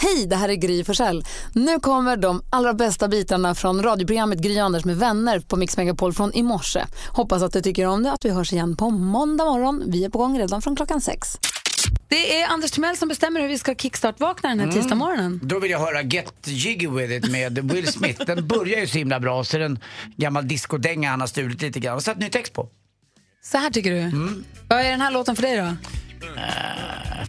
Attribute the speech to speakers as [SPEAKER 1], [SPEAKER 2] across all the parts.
[SPEAKER 1] Hej, det här är Gry Forssell. Nu kommer de allra bästa bitarna från radioprogrammet Gry Anders med vänner på Mix Megapol från i morse. Hoppas att du tycker om det att vi hörs igen på måndag morgon. Vi är på gång redan från klockan sex. Det är Anders Timell som bestämmer hur vi ska kickstart-vakna den här
[SPEAKER 2] Mm.
[SPEAKER 1] tisdagsmorgonen.
[SPEAKER 2] Då vill jag höra Get Jiggy With It med Will Smith. Den börjar ju så himla bra, så det är en gammal discodänga han har stulit lite grann och satt ny text på.
[SPEAKER 1] Så här tycker du? Vad är den här låten för dig då?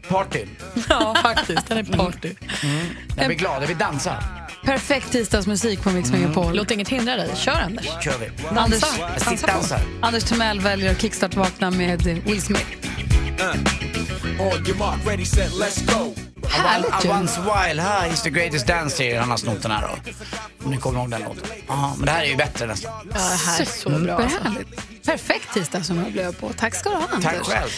[SPEAKER 2] Party.
[SPEAKER 1] Ja, faktiskt. Den är party.
[SPEAKER 2] Mm. Jag blir glad, jag vill dansa.
[SPEAKER 1] Perfekt tisdagsmusik på Mix Megapol. Mm. Låt inget hindra dig. Kör, Anders.
[SPEAKER 2] kör vi.
[SPEAKER 1] Anders,
[SPEAKER 2] Jag sittdansar.
[SPEAKER 1] Anders Timell väljer att kickstart-vakna med Will Smith.
[SPEAKER 3] On your mark, ready, set, let's go.
[SPEAKER 2] Härligt ju. Once while high is the greatest dancer. Han har snott den här då. Om ni kommer ihåg den låten. Ja, men det här är ju bättre nästan.
[SPEAKER 1] Ja, det här är så
[SPEAKER 2] Mm.
[SPEAKER 1] bra. Alltså. Perfekt tisdag som jag blev på. Tack ska du ha, Anders.
[SPEAKER 2] Tack själv.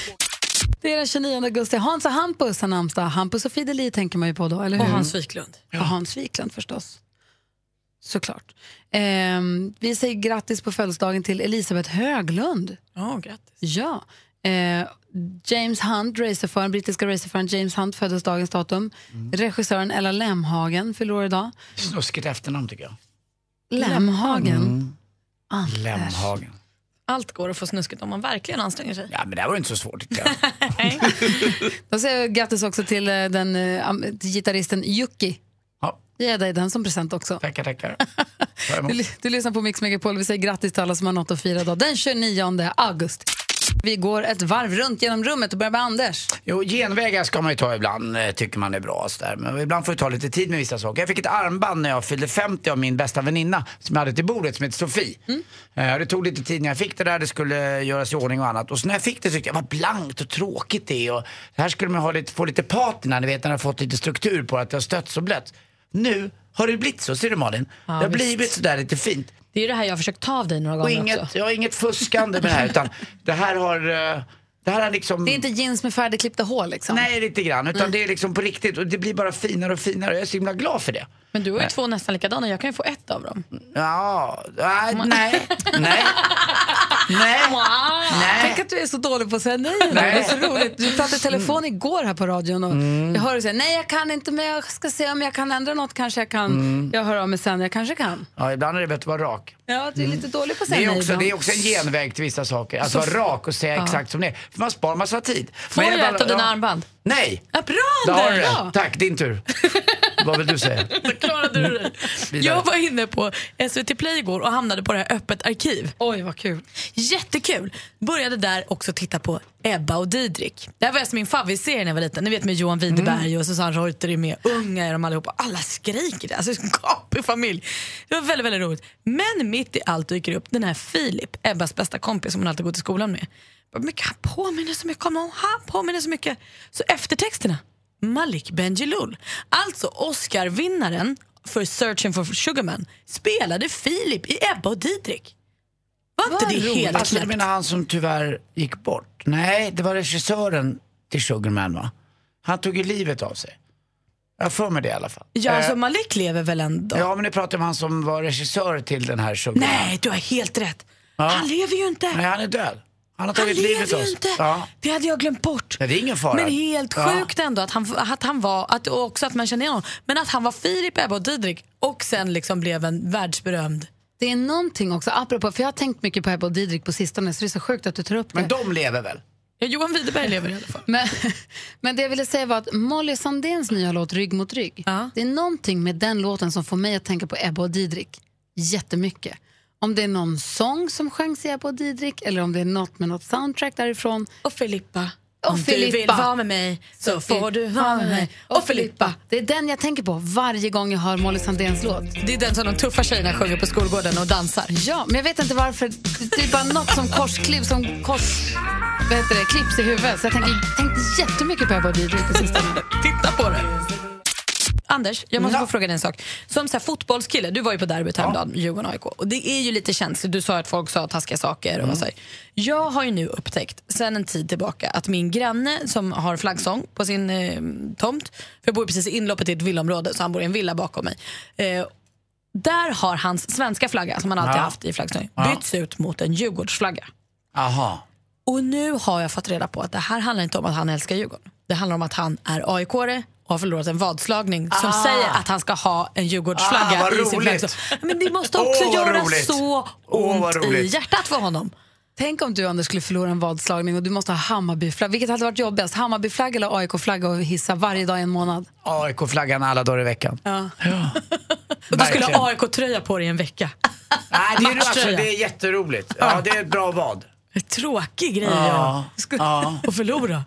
[SPEAKER 1] Det är den 29 augusti. Hans och Hampus har namnsdag. Hampus och Fideli tänker man ju på då, eller hur?
[SPEAKER 4] Och Hans Wiklund.
[SPEAKER 1] Och Hans Wiklund förstås. Såklart. Ehm, vi säger grattis på födelsedagen till Elisabeth Höglund.
[SPEAKER 4] Ja, grattis.
[SPEAKER 1] Ja. Eh, James Hunt, racerföraren, brittiska racerföraren James Hunt föddes dagens datum.
[SPEAKER 4] Mm.
[SPEAKER 1] Regissören Ella Lemhagen fyller år idag.
[SPEAKER 2] Snuskigt efternamn tycker jag.
[SPEAKER 1] Lemhagen. Anders.
[SPEAKER 2] Lemhagen.
[SPEAKER 4] Allt går att få snuskigt om man verkligen anstränger sig.
[SPEAKER 2] Ja, men det här var ju inte så svårt. tycker jag.
[SPEAKER 1] Då säger jag grattis också till eh, den eh, am- till gitarristen Yuki.
[SPEAKER 2] Ja.
[SPEAKER 1] Ge dig den som present också.
[SPEAKER 2] Tackar, tackar.
[SPEAKER 1] du, ly- du lyssnar på Mix Megapol. Vi säger grattis till alla som har något att fira idag. den 29 augusti. Vi går ett varv runt genom rummet och börjar med Anders.
[SPEAKER 2] Jo, genvägar ska man ju ta ibland, eh, tycker man är bra. Så där. Men ibland får det ta lite tid med vissa saker. Jag fick ett armband när jag fyllde 50 av min bästa väninna som jag hade till bordet, som heter Sofie. Eh, Det tog lite tid när jag fick det där, det skulle göras i ordning och annat. Och så när jag fick det tyckte jag, vad blankt och tråkigt det är. Och det här skulle man ha lite, få lite patina, ni vet när jag fått lite struktur på att jag stötts och blött. Nu har det blivit så, ser du Malin?
[SPEAKER 4] Ja,
[SPEAKER 2] det har
[SPEAKER 4] visst.
[SPEAKER 2] blivit sådär lite fint.
[SPEAKER 4] Det är ju det här jag har försökt ta av dig några
[SPEAKER 2] Och
[SPEAKER 4] gånger
[SPEAKER 2] inget,
[SPEAKER 4] också.
[SPEAKER 2] jag har inget fuskande med det här utan det här har, eh, det här har liksom...
[SPEAKER 1] Det är inte jeans med färdigklippta hål liksom.
[SPEAKER 2] Nej, lite grann.
[SPEAKER 4] Mm.
[SPEAKER 2] Utan det är liksom på riktigt och det blir bara finare och finare. Jag är så himla glad för det.
[SPEAKER 4] Men du har ju
[SPEAKER 2] Nej.
[SPEAKER 4] två nästan likadana, jag kan ju få ett av dem.
[SPEAKER 2] Ja, nej, nej, nej. nej.
[SPEAKER 1] Tänk att du är så dålig på att säga nej. Adam. Det är så roligt. Du pratade i telefon
[SPEAKER 2] Mm.
[SPEAKER 1] igår här på radion och jag hör dig säga nej jag kan inte men jag ska se om jag kan ändra något kanske jag kan.
[SPEAKER 2] Mm.
[SPEAKER 1] Jag hör av mig sen, jag kanske kan.
[SPEAKER 2] Ja, ibland är det bättre att vara rak.
[SPEAKER 1] Ja, du är lite dålig på att säga
[SPEAKER 2] Mm. Det är,
[SPEAKER 1] nej
[SPEAKER 2] också,
[SPEAKER 1] ibland.
[SPEAKER 2] det är också en genväg till vissa saker. Att
[SPEAKER 1] Så-
[SPEAKER 2] vara rak och säga
[SPEAKER 1] Ja.
[SPEAKER 2] exakt som det är. För man sparar massa tid.
[SPEAKER 4] Får
[SPEAKER 2] Men
[SPEAKER 4] jag
[SPEAKER 2] ibland-
[SPEAKER 4] ett av dina
[SPEAKER 2] ja.
[SPEAKER 4] armband?
[SPEAKER 2] Nej!
[SPEAKER 4] Ja, bra
[SPEAKER 2] Det har du.
[SPEAKER 4] Anders!
[SPEAKER 2] det. Tack, din tur. Vad vill du säga?
[SPEAKER 4] Då klarade du det. Jag var inne på SVT Play igår och hamnade på det här Öppet arkiv.
[SPEAKER 1] Oj, vad kul.
[SPEAKER 4] Jättekul. Började där också titta på Ebba och Didrik. Det här var alltså min favoritserie när jag var liten. Ni vet med Johan Widerberg och Susanne Reuter är med. Unga är de allihopa. Alla skriker. Alltså en gapig familj. Det var väldigt, väldigt roligt. Men mitt i allt dyker upp den här Filip, Ebbas bästa kompis som hon alltid går till skolan med. Vad mycket han påminner så mycket om honom. Han påminner så mycket. Så eftertexterna. Malik Bendjelloul, alltså Oscar-vinnaren för Searching for Sugarman, spelade Filip i Ebba och Didrik. Var inte det helt
[SPEAKER 2] Alltså, du
[SPEAKER 4] knäppt?
[SPEAKER 2] menar han som tyvärr gick bort? Nej, det var regissören till Sugarman va? Han tog ju livet av sig. Jag har för mig det i alla fall.
[SPEAKER 4] Ja,
[SPEAKER 2] Eh,
[SPEAKER 4] alltså Malik lever väl ändå?
[SPEAKER 2] Ja, men nu pratar vi om han som var regissör till den här Sugar
[SPEAKER 4] Nej, du har helt rätt.
[SPEAKER 2] Ja.
[SPEAKER 4] Han lever ju inte.
[SPEAKER 2] Nej, han är död. Han
[SPEAKER 4] Han
[SPEAKER 2] har tagit
[SPEAKER 4] lever
[SPEAKER 2] livet av
[SPEAKER 4] ju
[SPEAKER 2] sig.
[SPEAKER 4] inte.
[SPEAKER 2] Ja.
[SPEAKER 4] Det hade jag glömt bort.
[SPEAKER 2] Nej, det är ingen fara.
[SPEAKER 4] Men helt
[SPEAKER 2] Ja.
[SPEAKER 4] sjukt ändå att han, att han var, att, och också att man kände igen honom, men att han var Filip, Ebba och Didrik och sen liksom blev en världsberömd.
[SPEAKER 1] Det är någonting också, apropå, för jag har tänkt mycket på Ebba och Didrik på sistone så det är så sjukt att du tar upp det.
[SPEAKER 2] Men de lever väl?
[SPEAKER 4] Ja, Johan Widerberg lever i alla fall.
[SPEAKER 1] Men, men det jag ville säga var att Molly Sandéns nya låt Rygg mot rygg, det är någonting med den låten som får mig att tänka på Ebba och Didrik jättemycket. Om det är någon sång som sjöngs i Ebba och Didrik eller om det är något med något soundtrack därifrån.
[SPEAKER 4] Och Filippa.
[SPEAKER 1] Och
[SPEAKER 4] Om du vill
[SPEAKER 1] Filippa.
[SPEAKER 4] vara med mig så får du vara med mig. Och Filippa.
[SPEAKER 1] Det är den jag tänker på varje gång jag hör Molly Sandéns låt.
[SPEAKER 4] Det är den som de tuffa tjejerna sjunger på skolgården och dansar.
[SPEAKER 1] Ja, men jag vet inte varför. Det är bara något som korskliv, som kors... Vad heter det? Klipps i huvudet. Så jag tänker, tänkt jättemycket på Ebba och Didrik på sistone.
[SPEAKER 4] Titta på det. Anders, jag måste
[SPEAKER 1] Ja.
[SPEAKER 4] få fråga dig en sak. Som så här, fotbollskille, du var ju på derbyt häromdagen, Djurgården-AIK. Och det är ju lite känsligt, du sa att folk sa taskiga saker. Och var så här. Jag har ju nu upptäckt, sen en tid tillbaka, att min granne som har flaggstång på sin eh, tomt, för jag bor ju precis i inloppet till ett villaområde, så han bor i en villa bakom mig. Eh, där har hans svenska flagga, som han alltid
[SPEAKER 2] Ja.
[SPEAKER 4] haft i flaggstången,
[SPEAKER 2] Ja.
[SPEAKER 4] bytts ut mot en Djurgårdsflagga.
[SPEAKER 2] Aha.
[SPEAKER 4] Och nu har jag fått reda på att det här handlar inte om att han älskar Djurgården. Det handlar om att han är aik och har förlorat en vadslagning som säger att han ska ha en Djurgårdsflagga
[SPEAKER 2] Ah, vad
[SPEAKER 4] i sin
[SPEAKER 2] roligt.
[SPEAKER 4] flaggstång. Men det måste också
[SPEAKER 2] Åh, vad
[SPEAKER 4] göra
[SPEAKER 2] roligt.
[SPEAKER 4] så
[SPEAKER 2] Åh, vad
[SPEAKER 4] ont i
[SPEAKER 2] roligt.
[SPEAKER 4] hjärtat för honom.
[SPEAKER 1] Tänk om du Anders skulle förlora en vadslagning och du måste ha Hammarbyflagga. Vilket hade varit jobbigast? Hammarbyflagga eller AIK-flagga och hissa varje dag i en månad?
[SPEAKER 2] AIK-flaggan alla dagar i veckan.
[SPEAKER 4] Ja. och du skulle
[SPEAKER 2] Verkligen.
[SPEAKER 4] ha AIK-tröja på dig i en vecka.
[SPEAKER 2] Nej, det, är, alltså,
[SPEAKER 4] Matchtröja.
[SPEAKER 2] det är jätteroligt. Ja, det är ett bra vad.
[SPEAKER 4] En Tråkig grej
[SPEAKER 2] Ja,
[SPEAKER 4] ja.
[SPEAKER 2] ja.
[SPEAKER 4] att förlora.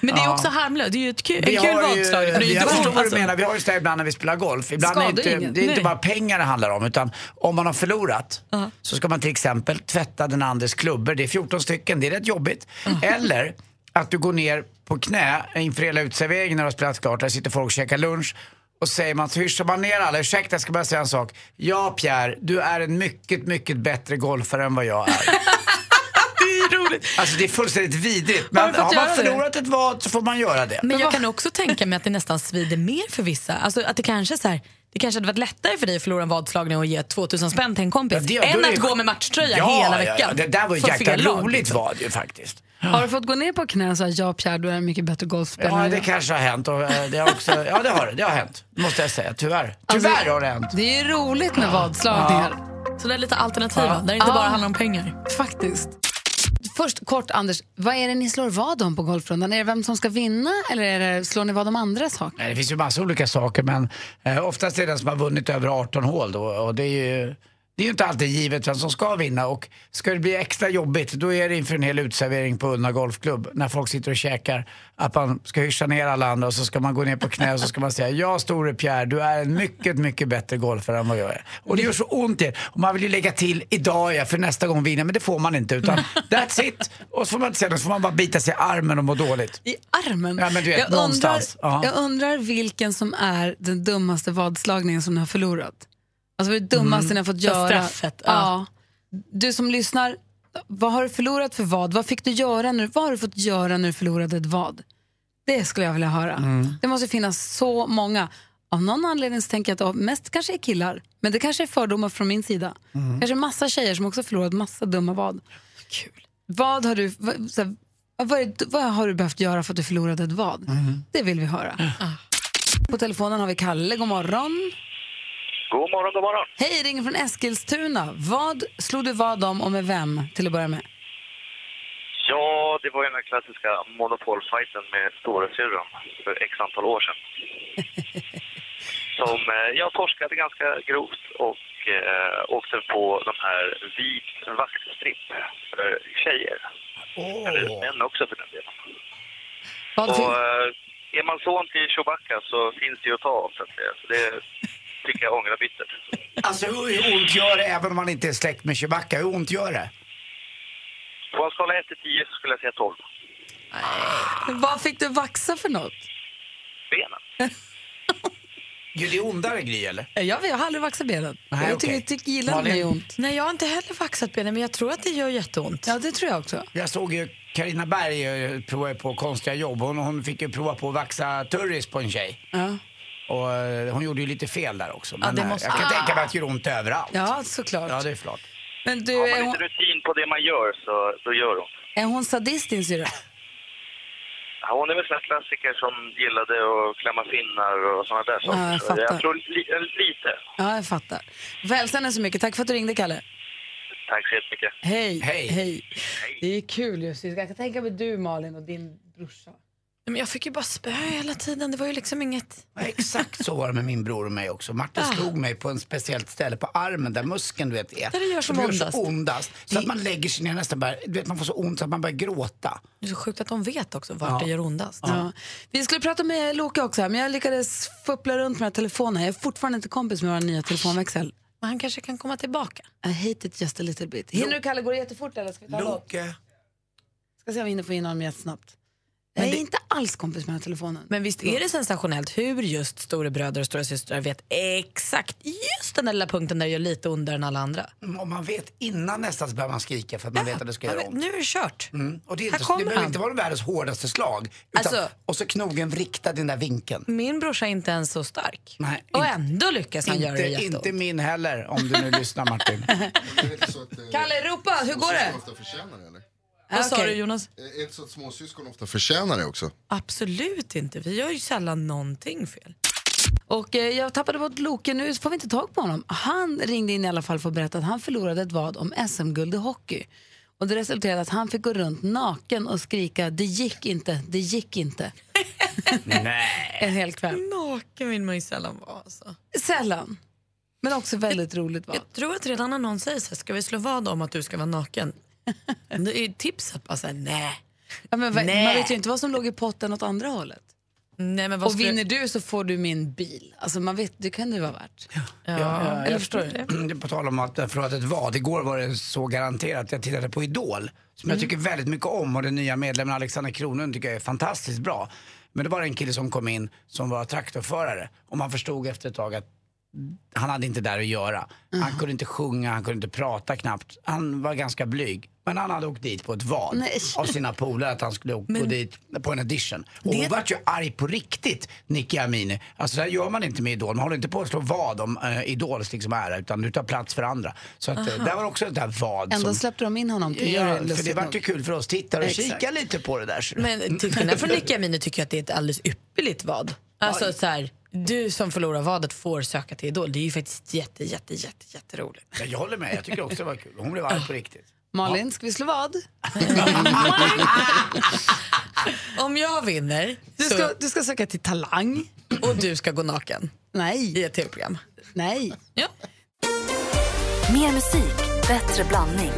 [SPEAKER 4] Men det är också harmlöst. Det är ju ett kul, en kul vadslagning. för det är ju
[SPEAKER 2] jag
[SPEAKER 4] inte ont,
[SPEAKER 2] förstår vad du
[SPEAKER 4] alltså.
[SPEAKER 2] menar. Vi har ju det ibland när vi spelar golf. Ibland är
[SPEAKER 1] Skadar
[SPEAKER 2] inte,
[SPEAKER 1] ingen.
[SPEAKER 2] det är inte
[SPEAKER 4] Nej.
[SPEAKER 2] bara pengar det handlar om. Utan om man har förlorat så ska man till exempel tvätta den andres klubbor. Det är 14 stycken, det är rätt jobbigt. Eller att du går ner på knä inför hela uteserveringen när du har spelat klart. Där sitter folk och käkar lunch. Och säger man, så hyschar man ner alla. Ursäkta, jag ska bara säga en sak. Ja, Pierre, du är en mycket, mycket bättre golfare än vad jag är.
[SPEAKER 4] Det är roligt.
[SPEAKER 2] Alltså det är fullständigt vidrigt.
[SPEAKER 4] Har
[SPEAKER 2] Men
[SPEAKER 4] du fått
[SPEAKER 2] har man
[SPEAKER 4] göra det?
[SPEAKER 2] förlorat ett vad så får man göra det.
[SPEAKER 4] Men jag kan också tänka mig att det nästan svider mer för vissa. Alltså att det kanske är så här, det kanske hade varit lättare för dig att förlora en vadslagning och ge 2000 spänn till en kompis
[SPEAKER 2] Ja, det- då är
[SPEAKER 4] än
[SPEAKER 2] det-
[SPEAKER 4] att gå med matchtröja hela veckan.
[SPEAKER 2] Ja, ja. Det där var ju
[SPEAKER 4] För
[SPEAKER 2] ett jäkla
[SPEAKER 4] fel lag,
[SPEAKER 2] roligt
[SPEAKER 4] liksom.
[SPEAKER 2] vad ju faktiskt.
[SPEAKER 1] Har du fått gå ner på knä och säga ja Pierre, du är en mycket bättre golfspelare
[SPEAKER 2] Ja,
[SPEAKER 1] än
[SPEAKER 2] det
[SPEAKER 1] jag"?
[SPEAKER 2] kanske har hänt. Och, eh, det har också, ja, det har det. Det har hänt. Måste jag säga. Tyvärr.
[SPEAKER 4] Alltså-
[SPEAKER 2] Tyvärr har det hänt.
[SPEAKER 1] Det är ju roligt med vadslagningar.
[SPEAKER 4] Så det är lite alternativ, va? där det inte
[SPEAKER 1] Ja.
[SPEAKER 4] bara handlar om pengar.
[SPEAKER 1] Faktiskt. Först kort, Anders. Vad är det ni slår vad om på golfrundan? Är det vem som ska vinna eller är det, slår ni vad om andra saker?
[SPEAKER 2] Nej, det finns ju massa olika saker, men eh, oftast är det den som har vunnit över 18 hål då. Och det är ju... Det är ju inte alltid givet vem som ska vinna och ska det bli extra jobbigt då är det inför en hel utservering på Ullna Golfklubb när folk sitter och käkar att man ska hyscha ner alla andra och så ska man gå ner på knä och så ska man säga ja store Pierre du är en mycket mycket bättre golfare än vad jag är. Och det gör så ont i det. Och man vill ju lägga till idag är jag för nästa gång vinner men det får man inte utan that's it. Och så får man inte säga något så får man bara bita sig i armen och må dåligt.
[SPEAKER 1] I armen?
[SPEAKER 2] Ja, men du vet,
[SPEAKER 1] jag, undrar,
[SPEAKER 2] någonstans. Ja.
[SPEAKER 1] jag undrar vilken som är den dummaste vadslagningen som ni har förlorat. Alltså det dummaste ni har fått göra.
[SPEAKER 4] Mm. straffet, ja.
[SPEAKER 1] Ja. Du som lyssnar, vad har du förlorat för vad? Vad, fick du göra när, vad har du fått göra när du förlorade ett vad? Det skulle jag vilja höra. Det måste finnas så många. Av någon anledning så tänker jag att det mest kanske är killar, men det kanske är fördomar från min sida. Kanske massa tjejer som också förlorat massa dumma vad.
[SPEAKER 4] Kul.
[SPEAKER 1] Vad har du, vad, så här, vad, är, vad har du behövt göra för att du förlorade ett vad? Det vill vi höra.
[SPEAKER 4] Ah.
[SPEAKER 1] På telefonen har vi Kalle, god morgon.
[SPEAKER 5] God morgon, god morgon.
[SPEAKER 1] Hej, ringer från Eskilstuna. Vad slog du vad om och med vem till att börja med?
[SPEAKER 5] Ja, det var ju den här klassiska monopolfajten med storasyrran för x antal år sedan. Som eh, jag torskade ganska grovt och eh, åkte på de här vit vaktstripp för tjejer. Eller män också för den delen.
[SPEAKER 1] Vad fick,
[SPEAKER 5] Och eh, är man son till Chewbacca så finns det ju att ta av så att säga. Så det tycker jag ångrar bittert.
[SPEAKER 2] Alltså hur ont gör det även om man inte är släkt med Chewbacca? Hur ont gör det?
[SPEAKER 5] På en skala 1 till 10 så skulle jag säga 12.
[SPEAKER 1] vad fick du vaxa för något?
[SPEAKER 5] Benen.
[SPEAKER 2] Gud, det är ondare Gry eller?
[SPEAKER 1] Eh, Jag, vet, jag har aldrig vaxat benet.
[SPEAKER 2] Nej,
[SPEAKER 1] jag tycker,
[SPEAKER 2] okej.
[SPEAKER 1] tycker gillar när
[SPEAKER 2] Malin?
[SPEAKER 1] det gör ont.
[SPEAKER 4] Nej, jag har inte heller vaxat benen, men jag tror att det gör jätteont.
[SPEAKER 1] Ja, det tror jag också.
[SPEAKER 2] Jag såg ju Carina Berg eh, prova på konstiga jobb. Hon, hon fick ju prova på att vaxa turris på en tjej.
[SPEAKER 1] Ja,
[SPEAKER 2] Och eh, hon gjorde ju lite fel där också. Men
[SPEAKER 4] det
[SPEAKER 2] eh,
[SPEAKER 4] måste- Ah!
[SPEAKER 2] jag kan tänka mig att det gör ont överallt.
[SPEAKER 1] ja såklart.
[SPEAKER 2] Ja, det är klart.
[SPEAKER 1] Men du,
[SPEAKER 5] Har
[SPEAKER 1] är
[SPEAKER 5] man
[SPEAKER 1] hon,
[SPEAKER 5] lite rutin på det man gör så då gör hon.
[SPEAKER 1] är hon sadist, din syrra?
[SPEAKER 5] Ja, hon är väl sån här klassiker som gillade att klämma finnar och såna där saker.
[SPEAKER 1] Ja, jag
[SPEAKER 5] Så
[SPEAKER 1] fattar.
[SPEAKER 5] jag tror li, eh, lite.
[SPEAKER 1] Ja, jag fattar. Du får hälsa henne så mycket. Tack för att du ringde, Kalle.
[SPEAKER 5] Tack så jättemycket.
[SPEAKER 1] Hej.
[SPEAKER 2] Hej.
[SPEAKER 1] Det är kul just Jag kan tänka mig du, Malin, och din brorsa.
[SPEAKER 4] Men jag fick ju bara spö hela tiden. Det var ju liksom inget...
[SPEAKER 2] Ja, Exakt så var det med min bror och mig också. Martin
[SPEAKER 4] Ah.
[SPEAKER 2] slog mig på en speciellt ställe på armen där muskeln du vet är.
[SPEAKER 4] Där det gör som
[SPEAKER 2] Som så
[SPEAKER 4] ondast.
[SPEAKER 2] ondast. Så att man lägger sig ner nästan bara, du vet man får så ont så att man börjar gråta.
[SPEAKER 4] Det är så sjukt att de vet också vart det gör ondast.
[SPEAKER 1] Ja. Vi skulle prata med Loke också, här, men jag lyckades fuppla runt med den här telefonen. Jag är fortfarande inte kompis med vår nya telefonväxel.
[SPEAKER 4] Men han kanske kan komma tillbaka.
[SPEAKER 1] I hate it just a little bit. Hinner du, Kalle? Går det jättefort eller ska vi ta en låt?
[SPEAKER 2] Loke.
[SPEAKER 1] Ska se om vi hinner få in honom jättesnabbt. Jag är inte alls kompis med den här telefonen.
[SPEAKER 4] Men visst är det sensationellt hur just storebröder och stora systrar vet exakt just den där lilla punkten där det gör lite ondare än alla andra.
[SPEAKER 2] Mm, Om man vet innan nästan så börjar man skrika för att man vet att det ska
[SPEAKER 4] Ja,
[SPEAKER 2] göra
[SPEAKER 4] men
[SPEAKER 2] ont.
[SPEAKER 4] Nu är det kört.
[SPEAKER 2] Mm. Och det, är
[SPEAKER 4] Här
[SPEAKER 2] inte,
[SPEAKER 4] kommer
[SPEAKER 2] det behöver
[SPEAKER 4] han.
[SPEAKER 2] inte vara världens hårdaste slag. Utan,
[SPEAKER 4] Alltså-
[SPEAKER 2] och så knogen riktad i den där vinkeln.
[SPEAKER 4] Min brorsa är inte ens så stark.
[SPEAKER 2] Nej,
[SPEAKER 4] och
[SPEAKER 2] inte-
[SPEAKER 4] ändå lyckas han göra
[SPEAKER 2] Inte,
[SPEAKER 4] det jätteont.
[SPEAKER 2] inte min heller, om du nu lyssnar Martin.
[SPEAKER 6] Är det inte så att eh,
[SPEAKER 1] Kalle, ropa! Hur går det?
[SPEAKER 6] syskon ofta förtjänar det eller?
[SPEAKER 4] Vad sa
[SPEAKER 1] Okej.
[SPEAKER 4] du Jonas?
[SPEAKER 6] Är inte så att småsyskon ofta förtjänar det också?
[SPEAKER 4] Absolut inte, vi gör ju sällan någonting fel.
[SPEAKER 1] Och eh, jag tappade bort Loke, nu får vi inte tag på honom. Han ringde in i alla fall för att berätta att han förlorade ett vad om SM-guld i hockey. Och det resulterade i att han fick gå runt naken och skrika det gick inte, det gick inte.
[SPEAKER 2] Nej.
[SPEAKER 1] En hel kväll.
[SPEAKER 4] Naken vill man ju sällan vara alltså.
[SPEAKER 1] Sällan. Men också väldigt roligt vad.
[SPEAKER 4] Jag tror att redan när någon säger så här, ska vi slå vad om att du ska vara naken? Då är tipset bara såhär, nej.
[SPEAKER 1] Ja, men, vad-
[SPEAKER 4] Nej.
[SPEAKER 1] man vet ju inte vad som låg i potten åt andra hållet.
[SPEAKER 4] nej men vad
[SPEAKER 1] Och
[SPEAKER 4] skulle-
[SPEAKER 1] vinner du så får du min bil. Alltså man vet, det kan det vara värt.
[SPEAKER 4] Ja,
[SPEAKER 2] Ja,
[SPEAKER 4] eller
[SPEAKER 2] jag
[SPEAKER 4] förstår
[SPEAKER 2] förstår
[SPEAKER 4] det.
[SPEAKER 2] det. På tal om att jag förlorat ett vad. Igår var det så garanterat. Jag tittade på Idol, som jag tycker väldigt mycket om. Och den nya medlemmen Alexander Kronlund tycker jag är fantastiskt bra. Men det var en kille som kom in som var traktorförare. Och man förstod efter ett tag att han hade inte där att göra. Han kunde inte sjunga, han kunde inte prata knappt. Han var ganska blyg. Men han hade åkt dit på ett vad
[SPEAKER 1] Nej.
[SPEAKER 2] av sina polare att han skulle åka gå dit på en audition. Och hon vart ju arg på riktigt, Nicky Amini. Alltså så här gör man inte med Idol. Man håller inte på att slå vad om eh, Idols liksom ära utan du tar plats för andra. Så att, eh, där var också ett där vad
[SPEAKER 1] Ändå
[SPEAKER 2] som...
[SPEAKER 1] släppte de in honom till
[SPEAKER 2] Ja,
[SPEAKER 1] juryn,
[SPEAKER 2] för det
[SPEAKER 1] lustigt
[SPEAKER 2] vart ju
[SPEAKER 1] nog.
[SPEAKER 2] kul för oss tittare att
[SPEAKER 1] Exakt.
[SPEAKER 2] kika lite på det där. ser du.
[SPEAKER 4] Men till skillnad från Nicky Amini tycker jag att det är ett alldeles ypperligt vad. Alltså så här, du som förlorar vadet får söka till Idol. Det är ju faktiskt jätte, jätte, jätte, jätteroligt.
[SPEAKER 2] Ja, Jag håller med, jag tycker också det var kul. Hon blev arg på riktigt.
[SPEAKER 1] Malin, ska vi slå vad?
[SPEAKER 4] Om jag vinner
[SPEAKER 1] Du
[SPEAKER 4] så-
[SPEAKER 1] ska, du ska söka till Talang.
[SPEAKER 4] och du ska gå naken i
[SPEAKER 1] Nej,
[SPEAKER 4] ett tv-program.
[SPEAKER 1] nej.
[SPEAKER 4] Ja.
[SPEAKER 7] Mer musik, bättre blandning.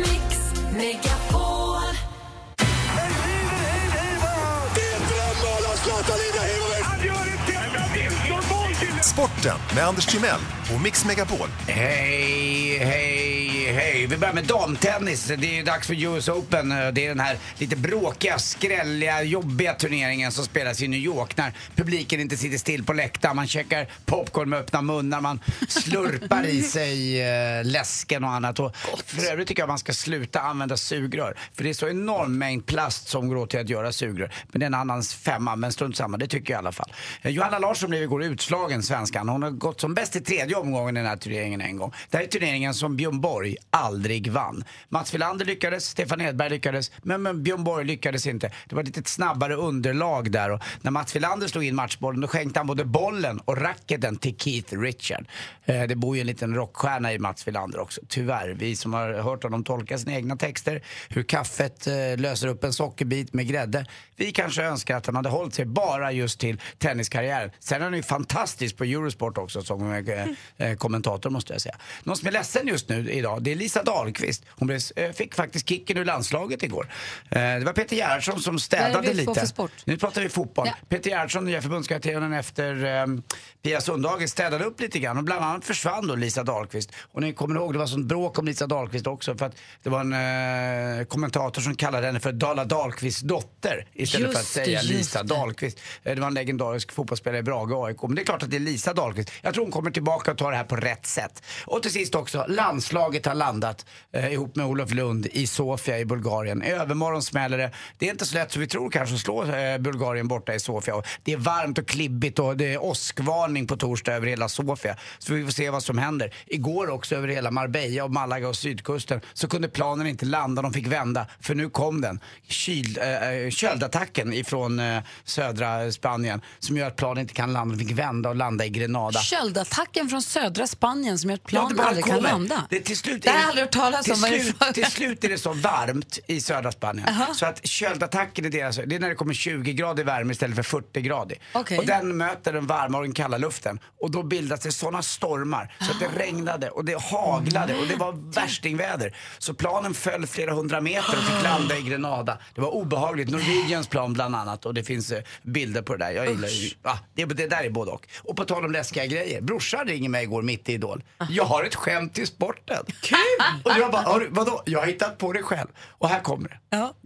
[SPEAKER 8] Sporten med Anders Timell och Mix Megapol.
[SPEAKER 2] Hej, hej, hej. Vi börjar med damtennis. Det är ju dags för US Open. Det är den här lite bråkiga, skrälliga, jobbiga turneringen som spelas i New York när publiken inte sitter still på läktaren. Man käkar popcorn med öppna munnar, man slurpar i sig eh, läsken och annat. Och för övrigt tycker jag man ska sluta använda sugrör. För det är så enorm mängd plast som går åt till att göra sugrör. Men det är en annans femma, men strunt samma. Det tycker jag i alla fall. Eh, Johanna Larsson blev igår utslagen, svenskan. Hon har gått som bäst i tredje omgången i den här turneringen en gång. Det här är turneringen som Björn Borg aldrig vann. Mats Wilander lyckades, Stefan Edberg lyckades, men, men Björn Borg lyckades inte. Det var ett lite snabbare underlag där och när Mats Wilander slog in matchbollen då skänkte han både bollen och racketen till Keith Richard. Eh, det bor ju en liten rockstjärna i Mats Wilander också, tyvärr. Vi som har hört honom tolka sina egna texter, hur kaffet eh, löser upp en sockerbit med grädde. Vi kanske önskar att han hade hållit sig bara just till tenniskarriären. Sen är han ju fantastisk på Eurosport också som eh, eh, kommentator måste jag säga. Någon som är ledsen just nu idag, det är Lisa Dahlqvist. Hon blev, eh, fick faktiskt kicken ur landslaget igår. Eh, det var Peter Gerhardsson som städade
[SPEAKER 1] Vad är det vi får
[SPEAKER 2] lite.
[SPEAKER 1] för sport?
[SPEAKER 2] Nu pratar vi fotboll.
[SPEAKER 1] Ja.
[SPEAKER 2] Peter Gerhardsson, nya förbundskaptenen efter eh, Pia Sundhage, städade upp lite grann. Och bland annat försvann då Lisa Dahlqvist. Och ni kommer ihåg, det var sånt bråk om Lisa Dahlqvist också. För att det var en eh, kommentator som kallade henne för Dala Dahlqvists dotter. Istället för att
[SPEAKER 4] Just det,
[SPEAKER 2] säga
[SPEAKER 4] just
[SPEAKER 2] Lisa
[SPEAKER 4] det.
[SPEAKER 2] Dahlqvist. Eh, Det var en legendarisk fotbollsspelare i Brage, AIK. Men det är klart att det är Lisa Dahlqvist. Jag tror hon kommer tillbaka och tar det här på rätt sätt. Och till sist också, landslaget har landat eh, ihop med Olof Lund i Sofia i Bulgarien. Övermorgon smäller det. Det är inte så lätt som vi tror kanske att slå eh, Bulgarien borta i Sofia. Och Det är varmt och klibbigt och det är åskvarning på torsdag över hela Sofia. Så vi får se vad som händer. Igår också över hela Marbella och Malaga och sydkusten så kunde planen inte landa. De fick vända för nu kom den. Kyl, eh, eh, köldattacken ifrån eh, södra Spanien som gör att planen inte kan landa. De fick vända och landa i Grenada.
[SPEAKER 1] Köldattacken från södra Spanien som gör att
[SPEAKER 2] Ja,
[SPEAKER 1] plan
[SPEAKER 2] bara
[SPEAKER 1] aldrig kan
[SPEAKER 2] kommer.
[SPEAKER 1] landa.
[SPEAKER 2] Det, till slut
[SPEAKER 1] Det har
[SPEAKER 2] är
[SPEAKER 1] jag aldrig hört talas
[SPEAKER 2] till
[SPEAKER 1] om. Vad är det
[SPEAKER 2] Slut,
[SPEAKER 1] för-
[SPEAKER 2] till slut är det så varmt i södra Spanien. Så att köldattacken är deras, det är när det kommer 20 grader värme istället för 40 grader.
[SPEAKER 1] Okej.
[SPEAKER 2] Och den möter den varma och den kalla luften. Och då bildas det sådana stormar så att det regnade och det haglade och det var värstingväder. Så planen föll flera hundra meter och fick landa i Grenada. Det var obehagligt. Norwegians plan bland annat och det finns eh, bilder på det där. Jag gillar ju, ah, det, det där är både och. Och på tal om läskiga grejer. Brorsan ringer mig igår mitt i Idol. Jag har ett skämt till sporten. Kul! Och jag bara, har du, vadå? Jag har hittat på det själv. Och här kommer det.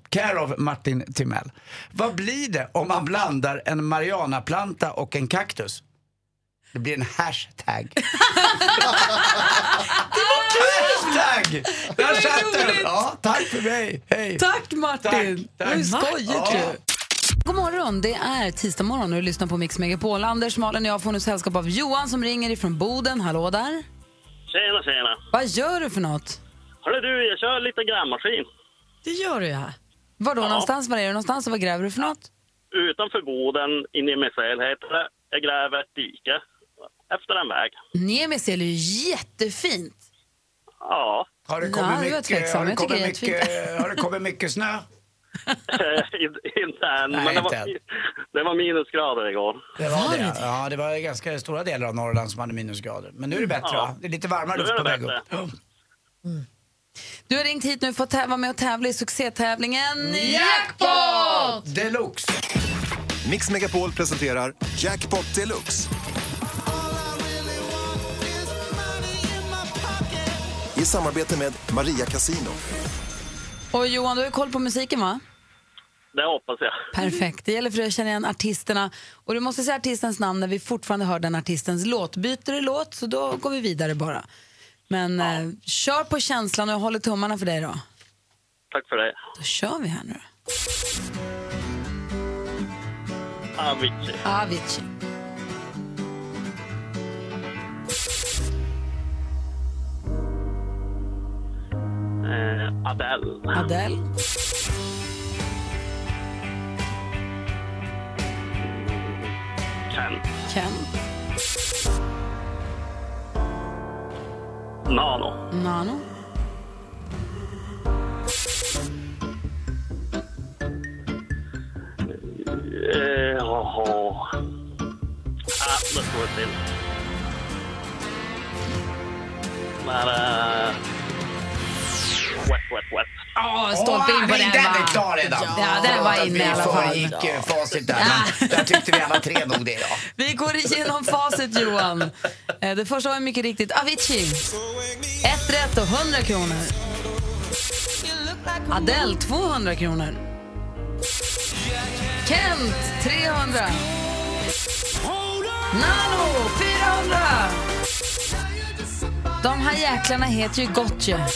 [SPEAKER 2] Care of Martin Timell. Vad blir det om man blandar en marianaplanta och en kaktus? Det blir en hashtag. det var hashtag! Där satt den! Ja, tack för mig. Hej!
[SPEAKER 1] Tack Martin!
[SPEAKER 2] Tack, tack.
[SPEAKER 1] Det var ju skojigt
[SPEAKER 2] Ja.
[SPEAKER 1] ju. God morgon, det är tisdag morgon och du lyssnar på Mix Megapol. Anders, Malin och jag får nu sällskap av Johan som ringer ifrån Boden. Hallå där!
[SPEAKER 5] Tjena, tjena.
[SPEAKER 1] Vad gör du för något?
[SPEAKER 5] Hörru du, jag kör lite grävmaskin.
[SPEAKER 4] Det gör du ja.
[SPEAKER 1] Var då någonstans? Var är du någonstans och vad gräver du för något?
[SPEAKER 5] Utanför Boden, inne i Messel heter det. Jag gräver ett dike efter en väg.
[SPEAKER 1] Nemis är ju jättefint.
[SPEAKER 5] Ja,
[SPEAKER 2] Har det
[SPEAKER 1] Ja,
[SPEAKER 2] kommit
[SPEAKER 1] det var
[SPEAKER 2] mycket,
[SPEAKER 1] tveksam.
[SPEAKER 2] har det
[SPEAKER 1] Jag tycker
[SPEAKER 2] kommit
[SPEAKER 1] det är
[SPEAKER 2] mycket, har det kommit mycket snö?
[SPEAKER 5] in- inte än. men
[SPEAKER 2] Nej,
[SPEAKER 5] det,
[SPEAKER 2] inte
[SPEAKER 5] var,
[SPEAKER 2] än.
[SPEAKER 5] det var minusgrader igår.
[SPEAKER 2] Det var det. Ja, det var ganska stora delar av Norrland som hade minusgrader. Men nu är det bättre
[SPEAKER 5] Ja.
[SPEAKER 2] va? Det är lite varmare
[SPEAKER 5] Nu är
[SPEAKER 2] luft på
[SPEAKER 5] det
[SPEAKER 2] väg upp.
[SPEAKER 5] bättre.
[SPEAKER 2] Ja.
[SPEAKER 1] Du har ringt hit nu för att tä- vara med och tävla i succétävlingen
[SPEAKER 2] Jackpot! Deluxe!
[SPEAKER 8] Mix Megapol presenterar Jackpot Deluxe. I samarbete med Maria Casino.
[SPEAKER 1] Och Johan, du har ju koll på musiken va?
[SPEAKER 5] Det hoppas jag.
[SPEAKER 1] Perfekt. Det gäller för dig att känna igen artisterna. Och du måste säga artistens namn när vi fortfarande hör den artistens låt. Byter du låt så då går vi vidare bara. Men eh, kör på känslan och jag håller tummarna för dig då.
[SPEAKER 5] Tack för det.
[SPEAKER 1] Då kör vi här nu.
[SPEAKER 5] Avicii.
[SPEAKER 1] Avicii.
[SPEAKER 5] Eh, Adele.
[SPEAKER 1] Adele.
[SPEAKER 5] Ken.
[SPEAKER 1] Ken.
[SPEAKER 5] Nano.
[SPEAKER 1] Nano.
[SPEAKER 5] Eh, oh, oh. Ah, det står det till. Men... Eh, wet, wet, wet.
[SPEAKER 1] Åh,
[SPEAKER 2] Åh,
[SPEAKER 1] stolpe in på
[SPEAKER 2] men
[SPEAKER 1] den
[SPEAKER 2] Den är
[SPEAKER 1] va?
[SPEAKER 2] klar redan.
[SPEAKER 1] Ja, den var
[SPEAKER 2] Att
[SPEAKER 1] inne
[SPEAKER 2] vi
[SPEAKER 1] i alla fall.
[SPEAKER 2] föregick eh, facit där. Men där tyckte vi alla tre nog det ja.
[SPEAKER 1] Vi går igenom facit Johan. Eh, Det första var mycket riktigt Avicii. Ett rätt och 100 kronor. Adele 200 kronor. Kent 300. Nano 400. De här jäklarna heter ju Gotye.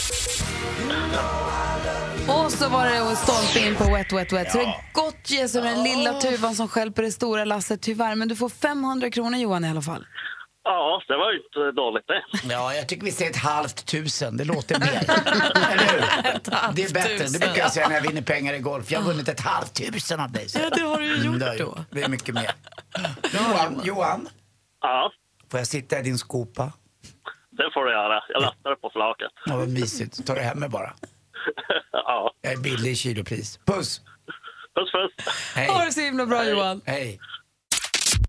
[SPEAKER 1] Och så var det att stolpe in på Wet Wet Wet. Så det är Gotye som är den lilla tuvan som stjälper det stora lasset tyvärr. Men du får 500 kronor Johan i alla fall.
[SPEAKER 5] Ja, det var ju inte dåligt det.
[SPEAKER 2] Ja, jag tycker vi säger ett halvt tusen. Det låter mer. Eller hur? Det är bättre. Det brukar jag säga när jag vinner pengar i golf. Jag har vunnit ett halvt tusen av dig. Ja, det har du ju gjort då. Det är mycket mer. Johan, Johan,
[SPEAKER 5] Ja,
[SPEAKER 2] får jag sitta i din skopa?
[SPEAKER 5] det får du göra. Jag lastar på flaket.
[SPEAKER 2] Ja, vad mysigt. Tar du hem mig bara?
[SPEAKER 5] Ja,
[SPEAKER 2] Jag är billig i kilopris. Puss!
[SPEAKER 5] puss puss.
[SPEAKER 2] Hej!
[SPEAKER 1] Ha det så himla bra Johan.
[SPEAKER 2] Hej!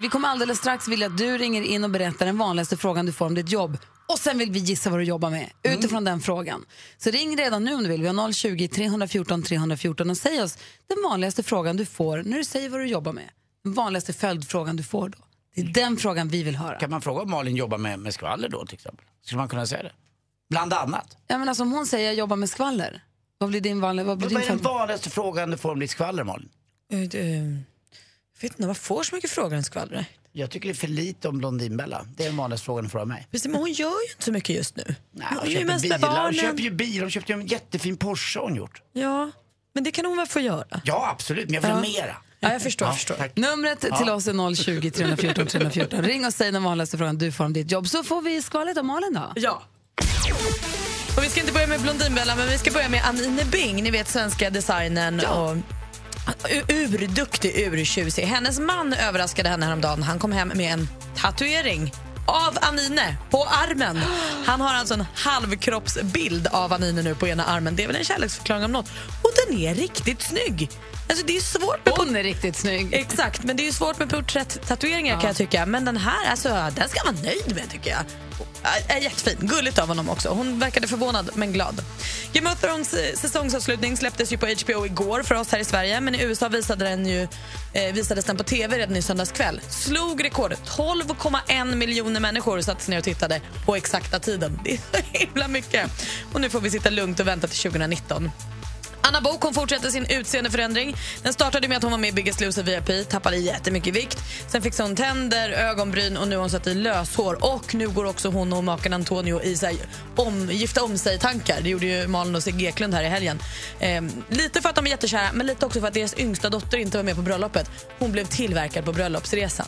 [SPEAKER 1] Vi kommer alldeles strax vilja att du ringer in och berättar den vanligaste frågan du får om ditt jobb. Och sen vill vi gissa vad du jobbar med
[SPEAKER 2] Mm.
[SPEAKER 1] utifrån den frågan. Så ring redan nu om du vill. Vi har 020-314 314 och säg oss den vanligaste frågan du får när du säger vad du jobbar med. Den vanligaste följdfrågan du får då. Det är den frågan vi vill höra.
[SPEAKER 2] Kan man fråga om Malin jobbar med, med skvaller då till exempel? Skulle man kunna säga det? Bland annat.
[SPEAKER 1] Jag menar som hon säger, jag jobbar med skvaller. Vad blir din vanliga, vad blir
[SPEAKER 2] Vad
[SPEAKER 1] din
[SPEAKER 2] är den
[SPEAKER 1] följd?
[SPEAKER 2] vanligaste frågan du får om ditt skvaller Malin?
[SPEAKER 4] Eh, eh, vet inte, man får så mycket frågor om skvallret.
[SPEAKER 2] Jag tycker det är för lite om Blondinbella. Det är den vanligaste frågan du får av mig.
[SPEAKER 4] Precis, men hon gör ju inte så mycket just nu.
[SPEAKER 2] Nej,
[SPEAKER 4] hon
[SPEAKER 2] hon
[SPEAKER 4] är ju
[SPEAKER 2] köper
[SPEAKER 4] mest med
[SPEAKER 2] bilar. Hon
[SPEAKER 4] barnen.
[SPEAKER 2] köper ju bilar. Hon köpte ju en jättefin Porsche hon gjort.
[SPEAKER 4] Ja, men det kan hon väl få göra?
[SPEAKER 2] Ja, absolut. Men jag vill ha mera.
[SPEAKER 4] Ja, jag förstår.
[SPEAKER 2] Ja,
[SPEAKER 4] förstår.
[SPEAKER 2] tack.
[SPEAKER 1] Numret till oss är 020 314 314. Ring och säg den vanligaste frågan du får om ditt jobb så får vi skvallret om Malin då.
[SPEAKER 4] Ja. Och vi ska inte börja med Blondinbella, men vi ska börja med Anine Bing, ni vet svenska designern. Och u- urduktig, urtjusig. Hennes man överraskade henne häromdagen. Han kom hem med en tatuering av Anine på armen. Han har alltså en halvkroppsbild av Anine nu på ena armen. Det är väl en kärleksförklaring om något. Och den är riktigt snygg. Alltså det är svårt med
[SPEAKER 1] Hon är riktigt snygg.
[SPEAKER 4] Exakt, men det är ju svårt med porträtt-tatueringar kan jag tycka. Men den här, alltså, den ska man vara nöjd med tycker jag. Ä- Är jättefin. Gulligt av honom också. Hon verkade förvånad men glad. Game of Thrones eh, säsongsavslutning släpptes ju på HBO igår för oss här i Sverige men i USA visade den ju, eh, visades den på tv redan i söndags kväll. Slog rekord. 12,1 miljoner människor satt sig ner och tittade på exakta tiden. Det är så himla mycket. Och nu får vi sitta lugnt och vänta till 2019. Anna Bok hon fortsätter sin utseendeförändring. Den startade med att hon var med i Biggest Loser VIP, tappade jättemycket vikt. Sen fixade hon tänder, ögonbryn och nu har hon satt i löshår. Och nu går också hon och maken Antonio i så här, om, gifta om sig-tankar. Det gjorde ju Malin och Sigge Eklund här i helgen. Ehm, lite för att de är jättekära, men lite också för att deras yngsta dotter inte var med på bröllopet. Hon blev tillverkad på bröllopsresan.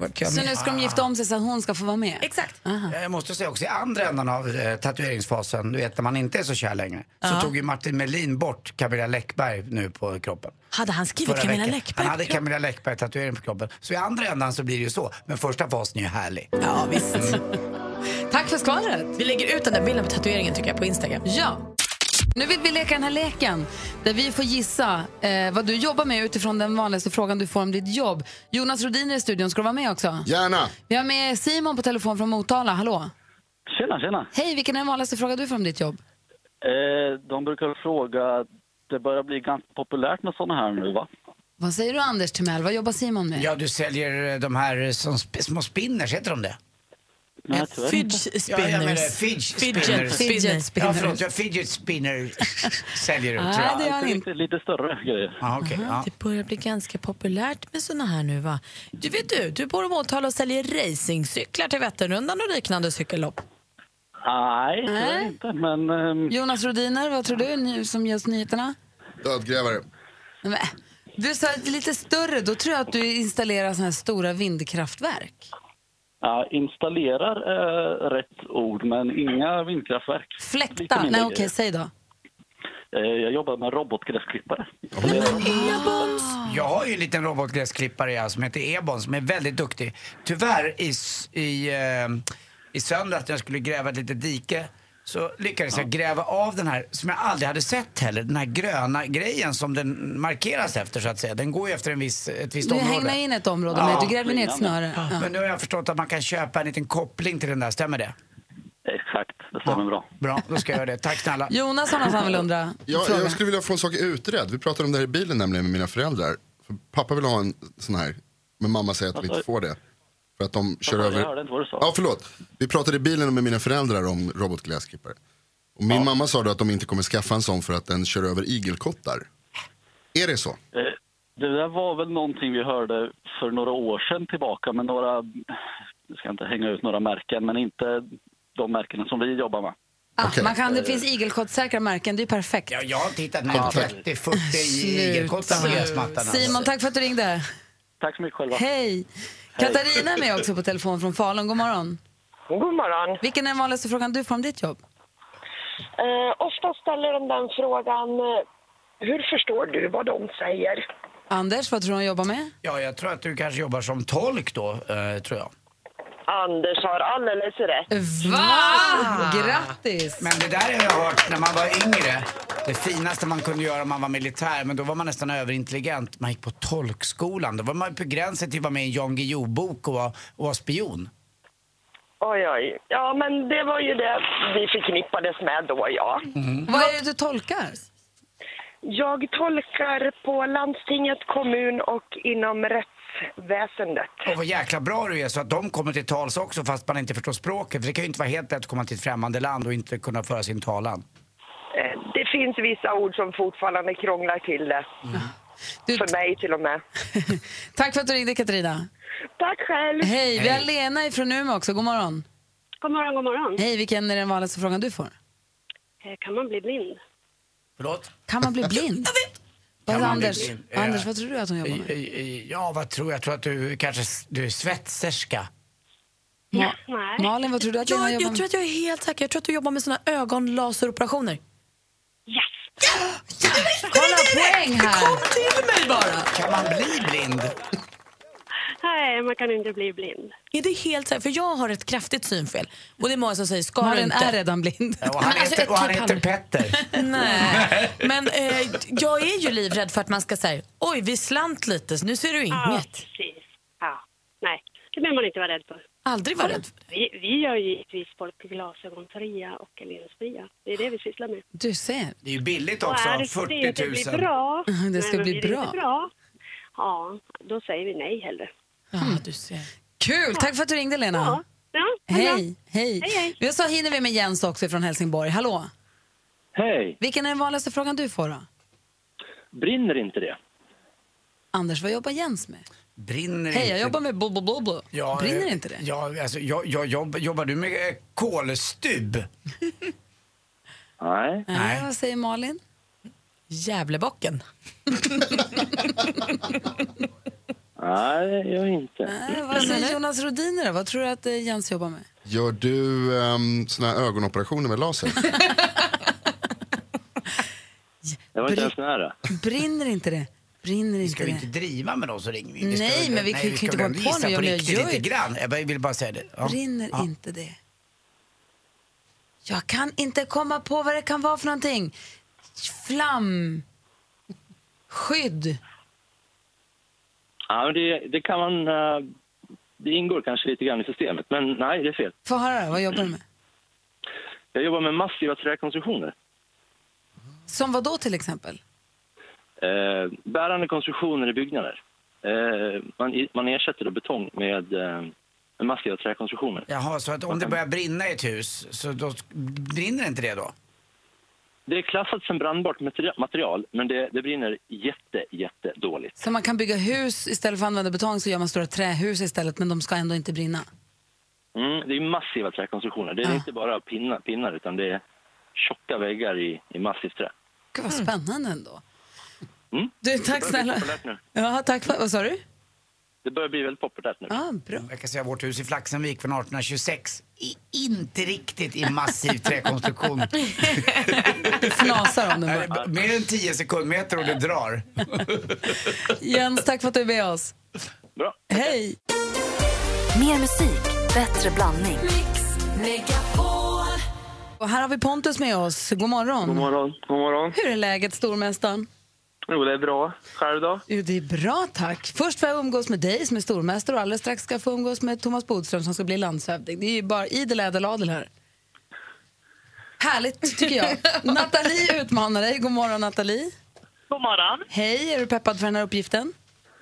[SPEAKER 2] Vad kan
[SPEAKER 1] Så
[SPEAKER 2] ni-
[SPEAKER 1] nu ska de gifta om sig så att hon ska få vara med?
[SPEAKER 4] Exakt.
[SPEAKER 2] Jag måste säga också i andra änden av eh, tatueringsfasen, du vet när man inte är så kär längre, så tog ju Martin Melin bort Camilla Läckberg nu på kroppen.
[SPEAKER 4] Hade han skrivit
[SPEAKER 2] Förra
[SPEAKER 4] Camilla
[SPEAKER 2] veckan.
[SPEAKER 4] Läckberg?
[SPEAKER 2] Han hade Camilla Läckberg tatuering på kroppen. Så i andra änden så blir det ju så. Men första fasen är ju härlig.
[SPEAKER 4] Ja, visst.
[SPEAKER 1] Tack för skvallret!
[SPEAKER 4] Vi lägger ut den där bilden på tatueringen tycker jag på Instagram.
[SPEAKER 1] Ja. Nu vill vi leka den här leken där vi får gissa eh, vad du jobbar med utifrån den vanligaste frågan du får om ditt jobb. Jonas Rodin är i studion, ska du vara med också?
[SPEAKER 6] Gärna.
[SPEAKER 1] Vi har med Simon på telefon från Motala, hallå.
[SPEAKER 5] Tjena, tjena.
[SPEAKER 1] Hej, vilken är den vanligaste frågan du får om ditt jobb?
[SPEAKER 5] Eh, de brukar fråga, det börjar bli ganska populärt med såna här nu va?
[SPEAKER 1] Vad säger du Anders Timell, vad jobbar Simon med?
[SPEAKER 2] Ja, du säljer eh, de här som sp- små spinners, heter de det?
[SPEAKER 5] Nej, tyvärr inte.
[SPEAKER 4] Fidget
[SPEAKER 2] Ja, jag menar
[SPEAKER 4] spinners.
[SPEAKER 2] fidget
[SPEAKER 4] Fidget
[SPEAKER 2] spinners.
[SPEAKER 1] Fidget
[SPEAKER 4] spinners.
[SPEAKER 1] spinner.
[SPEAKER 2] Ja, förlåt. Jag fidget spinner säljer du, tror
[SPEAKER 1] Nej,
[SPEAKER 9] Ah.
[SPEAKER 2] jag.
[SPEAKER 1] det gör han
[SPEAKER 5] Inte
[SPEAKER 1] inte.
[SPEAKER 5] riktigt, lite större grejer.
[SPEAKER 2] Ja, okej. ja.
[SPEAKER 4] Det börjar bli ganska populärt med såna här nu va? Du vet du, du bor i Motala och säljer racingcyklar till Vätternrundan och liknande cykellopp.
[SPEAKER 5] Nej, tyvärr
[SPEAKER 1] Nej.
[SPEAKER 5] inte. Men ehm,
[SPEAKER 1] Jonas Rodiner, vad tror du nu som ger oss nyheterna?
[SPEAKER 6] Dödgrävare.
[SPEAKER 1] Nej, men, eh, Du sa lite större, då tror jag att du installerar såna här stora vindkraftverk.
[SPEAKER 5] ja, installerar eh, rätt ord, men inga vindkraftverk. Lite
[SPEAKER 1] Fläkta,
[SPEAKER 5] mindre
[SPEAKER 1] nej
[SPEAKER 5] grejer.
[SPEAKER 1] okej, säg då.
[SPEAKER 5] Eh, jag jobbar med robotgräsklippare.
[SPEAKER 2] Jag har ju en liten robotgräsklippare jag, som heter Ebon som är väldigt duktig. Tyvärr i, s- i, eh, i söndags när jag skulle gräva ett litet dike så lyckades jag gräva av den här, som jag aldrig hade sett heller, den här gröna grejen som den markeras efter så att säga. Den går ju efter en viss, ett visst
[SPEAKER 1] Du
[SPEAKER 2] område.
[SPEAKER 1] hängde in ett område med,
[SPEAKER 2] Ja.
[SPEAKER 1] du grävde
[SPEAKER 10] Ah,
[SPEAKER 1] ner ett snöre.
[SPEAKER 2] Ja.
[SPEAKER 1] Ja.
[SPEAKER 2] Men nu har jag förstått att man kan köpa en liten koppling till den där, stämmer det?
[SPEAKER 5] Exakt, det stämmer bra.
[SPEAKER 2] Bra, då ska jag göra det. Tack snälla.
[SPEAKER 1] Jonas har något han vill undra.
[SPEAKER 6] Ja,
[SPEAKER 1] Fråga.
[SPEAKER 6] jag skulle vilja få en sak utredd. Vi pratade om det här i bilen nämligen med mina föräldrar. För pappa vill ha en sån här, men mamma säger att de inte får det. För att de kör
[SPEAKER 5] Alltså- Jag
[SPEAKER 6] över...
[SPEAKER 5] hörde inte vad du sa.
[SPEAKER 6] Ja, förlåt. Vi pratade i bilen med mina föräldrar om robotgräsklippare. Och min mamma sa då att de inte kommer skaffa en sån för att den kör över igelkottar. Är det så?
[SPEAKER 5] Eh, Det där var väl någonting vi hörde för några år sedan tillbaka med några, jag ska inte hänga ut några märken, men inte de märkena som vi jobbar med.
[SPEAKER 1] ah,
[SPEAKER 6] Okej.
[SPEAKER 1] man kan, det finns igelkottsäkra märken, det är ju perfekt.
[SPEAKER 2] Ja, jag har tittat med 30-40 igelkottar på gräsmattan. alltså.
[SPEAKER 1] Simon, tack för att du ringde.
[SPEAKER 5] Tack så mycket själva.
[SPEAKER 1] Hej! Katarina är med också på telefon från Falun. God morgon.
[SPEAKER 10] God morgon.
[SPEAKER 1] Vilken är den vanligaste frågan du får om ditt jobb?
[SPEAKER 10] Eh, ofta ställer de den frågan, eh, hur förstår du vad de säger?
[SPEAKER 1] Anders, vad tror du hon jobbar med?
[SPEAKER 2] Ja, jag tror att du kanske jobbar som tolk då, eh, tror jag.
[SPEAKER 10] Anders har alldeles rätt.
[SPEAKER 1] Va? Grattis!
[SPEAKER 2] Men det där har jag hört när man var yngre. Det finaste man kunde göra om man var militär, men då var man nästan överintelligent. Man gick på tolkskolan. Då var man på gränsen till att vara med i en Jan Guillou-bok och vara och vara spion.
[SPEAKER 10] Oj, oj. Ja, men det var ju det vi förknippades med då, ja.
[SPEAKER 1] Vad är det du tolkar?
[SPEAKER 10] Jag tolkar på landstinget, kommun och inom rättsväsendet.
[SPEAKER 2] Och vad jäkla bra du är så att de kommer till tals också fast man inte förstår språket. För det kan ju inte vara helt lätt att komma till ett främmande land och inte kunna föra sin talan.
[SPEAKER 10] Eh, det finns vissa ord som fortfarande krånglar till det.
[SPEAKER 1] Du,
[SPEAKER 10] För mig till och med.
[SPEAKER 1] tack för att du ringde, Katarina.
[SPEAKER 10] Tack själv.
[SPEAKER 1] Hej, vi har Lena från Umeå också. God morgon.
[SPEAKER 10] God morgon, god morgon. Eh,
[SPEAKER 1] Hej, vilken är den vanligaste frågan du får?
[SPEAKER 10] Kan man bli blind?
[SPEAKER 2] Förlåt?
[SPEAKER 1] Kan man bli blind? Vad
[SPEAKER 2] Kan
[SPEAKER 1] är
[SPEAKER 2] man bli
[SPEAKER 1] Anders?
[SPEAKER 2] blind? Eh,
[SPEAKER 1] Anders, vad tror du att hon jobbar med?
[SPEAKER 2] Ja, vad tror jag? Jag tror att du kanske du är svetserska.
[SPEAKER 1] Ma-
[SPEAKER 10] Nej.
[SPEAKER 1] Malin, vad tror du att Lena
[SPEAKER 4] Jag,
[SPEAKER 1] jobbar
[SPEAKER 4] jag
[SPEAKER 1] med?
[SPEAKER 4] tror att jag är helt säker. Jag tror att du jobbar med såna ögonlaseroperationer.
[SPEAKER 10] Yes!
[SPEAKER 1] Kolla poäng här!
[SPEAKER 4] Till mig bara!
[SPEAKER 2] Kan man bli blind?
[SPEAKER 10] Nej, man kan inte bli blind.
[SPEAKER 4] Är det helt säkert? För jag har ett kraftigt synfel. Och det är många som säger, ska du
[SPEAKER 1] Malin
[SPEAKER 4] inte?
[SPEAKER 1] är redan blind.
[SPEAKER 2] Ja, Och
[SPEAKER 4] Men
[SPEAKER 2] han
[SPEAKER 4] alltså,
[SPEAKER 2] heter, och han
[SPEAKER 4] typ
[SPEAKER 2] heter
[SPEAKER 4] han-
[SPEAKER 2] Petter.
[SPEAKER 4] Nej, men eh, jag är ju livrädd för att man ska säga, oj vi slant lite, så nu ser du inget.
[SPEAKER 10] precis. Ja. Nej, det behöver man inte vara rädd för.
[SPEAKER 4] Aldrig var rädd.
[SPEAKER 10] Vi, vi gör ju givetvis folk glasögonfria och lensfria. Det är det vi sysslar med.
[SPEAKER 1] Du ser.
[SPEAKER 2] Det är ju billigt
[SPEAKER 10] Och
[SPEAKER 2] också,
[SPEAKER 10] är det, det, det
[SPEAKER 2] 40
[SPEAKER 10] blir
[SPEAKER 2] 000.
[SPEAKER 10] bra.
[SPEAKER 1] Det
[SPEAKER 10] Men
[SPEAKER 1] ska
[SPEAKER 10] då
[SPEAKER 1] bli
[SPEAKER 10] blir det
[SPEAKER 1] bra.
[SPEAKER 10] inte bra. Ja, då säger vi nej hellre.
[SPEAKER 4] Ja, du ser.
[SPEAKER 1] Mm. Kul! Tack för att du ringde, Lena.
[SPEAKER 10] Ja. ja men då.
[SPEAKER 1] Hej, hej.
[SPEAKER 10] Hej, hej.
[SPEAKER 1] Vi så hinner vi med Jens också från Helsingborg. Hallå!
[SPEAKER 5] Hej!
[SPEAKER 1] Vilken är den vanligaste frågan du får då?
[SPEAKER 5] Brinner inte det?
[SPEAKER 1] Anders, vad jobbar Jens med?
[SPEAKER 2] Brinner
[SPEAKER 1] Hej,
[SPEAKER 2] inte-
[SPEAKER 1] jag jobbar med blå, blå, blå.
[SPEAKER 2] Ja,
[SPEAKER 1] Brinner
[SPEAKER 2] eh,
[SPEAKER 1] inte det?
[SPEAKER 2] Ja, alltså, jag, jag, jobb, jobbar du med eh, kolstub?
[SPEAKER 5] Nej.
[SPEAKER 1] Nej. Eh, Vad säger Malin?
[SPEAKER 4] Gävlebocken.
[SPEAKER 11] Nej, det gör jag inte.
[SPEAKER 1] Eh, Vad säger Jonas Rhodiner då? Vad tror du att eh, Jens jobbar med?
[SPEAKER 6] Gör du um, såna här ögonoperationer med laser?
[SPEAKER 11] Jag var inte ens nära.
[SPEAKER 1] Brinner inte det? Brinner inte
[SPEAKER 2] Ska vi
[SPEAKER 1] det?
[SPEAKER 2] inte driva med dem så ringer vi? vi
[SPEAKER 1] Nej,
[SPEAKER 2] ska,
[SPEAKER 1] men vi kan ju
[SPEAKER 2] ska
[SPEAKER 1] inte
[SPEAKER 2] väl
[SPEAKER 1] gå på
[SPEAKER 2] gissa
[SPEAKER 1] nu,
[SPEAKER 2] på
[SPEAKER 1] men jag
[SPEAKER 2] riktigt
[SPEAKER 1] gör ju
[SPEAKER 2] lite
[SPEAKER 1] det.
[SPEAKER 2] grann. Jag bara- jag vill bara säga det. Ja.
[SPEAKER 1] Brinner
[SPEAKER 2] Ja.
[SPEAKER 1] inte det? Jag kan inte komma på vad det kan vara för någonting. Flam... Skydd.
[SPEAKER 11] Ja, men det, det kan man... eh, Det ingår kanske lite grann i systemet, men nej, det är fel.
[SPEAKER 1] Få höra, vad jobbar du med?
[SPEAKER 11] Jag jobbar med massiva träkonstruktioner.
[SPEAKER 1] Som vad då till exempel?
[SPEAKER 11] Eh, bärande konstruktioner i byggnader. Eh, man, man ersätter då betong med, eh, med massiva träkonstruktioner.
[SPEAKER 2] Jaha, så att om det börjar brinna i ett hus, så då brinner inte det då?
[SPEAKER 11] Det är klassat som brandbart materi- material, men det, det brinner jätte, jätte dåligt.
[SPEAKER 1] Så man kan bygga hus istället för att använda betong så gör man stora trähus istället men de ska ändå inte brinna.
[SPEAKER 11] Mm, det är massiva träkonstruktioner.
[SPEAKER 9] Ah.
[SPEAKER 11] Det är inte bara pinnar, pinnar, utan det är tjocka väggar i, i massivt trä.
[SPEAKER 1] Gud vad spännande ändå.
[SPEAKER 11] Mm.
[SPEAKER 1] Du, tack
[SPEAKER 11] Det börjar bli
[SPEAKER 1] snälla.
[SPEAKER 11] populärt nu.
[SPEAKER 1] Ja, tack för... Vad sa du?
[SPEAKER 11] Det börjar bli väldigt populärt
[SPEAKER 9] Ah.
[SPEAKER 11] nu.
[SPEAKER 1] Ja, bra.
[SPEAKER 2] Jag kan säga vårt hus i Flaxenvik från 1826. I, inte riktigt i massiv träkonstruktion.
[SPEAKER 1] Du fnasar om den
[SPEAKER 2] Nej, det är
[SPEAKER 1] bara.
[SPEAKER 2] b- Mer än 10 sekundmeter och det drar.
[SPEAKER 1] Jens, tack för att du är med oss.
[SPEAKER 11] Bra.
[SPEAKER 1] Hej!
[SPEAKER 7] Mer musik, bättre blandning.
[SPEAKER 1] Och här har vi Pontus med oss. God morgon.
[SPEAKER 12] God morgon. God morgon.
[SPEAKER 1] Hur är läget, stormästaren?
[SPEAKER 12] Jo, det är bra. Själv då?
[SPEAKER 1] Jo, det är bra, tack. Först får jag umgås med dig som är stormästare och alldeles strax ska jag få umgås med Thomas Bodström som ska bli landshövding. Det är ju bara idel ädeladel här. Härligt, tycker jag. Nathalie utmanar dig. God morgon, Nathalie.
[SPEAKER 13] God morgon.
[SPEAKER 1] Hej, är du peppad för den här uppgiften?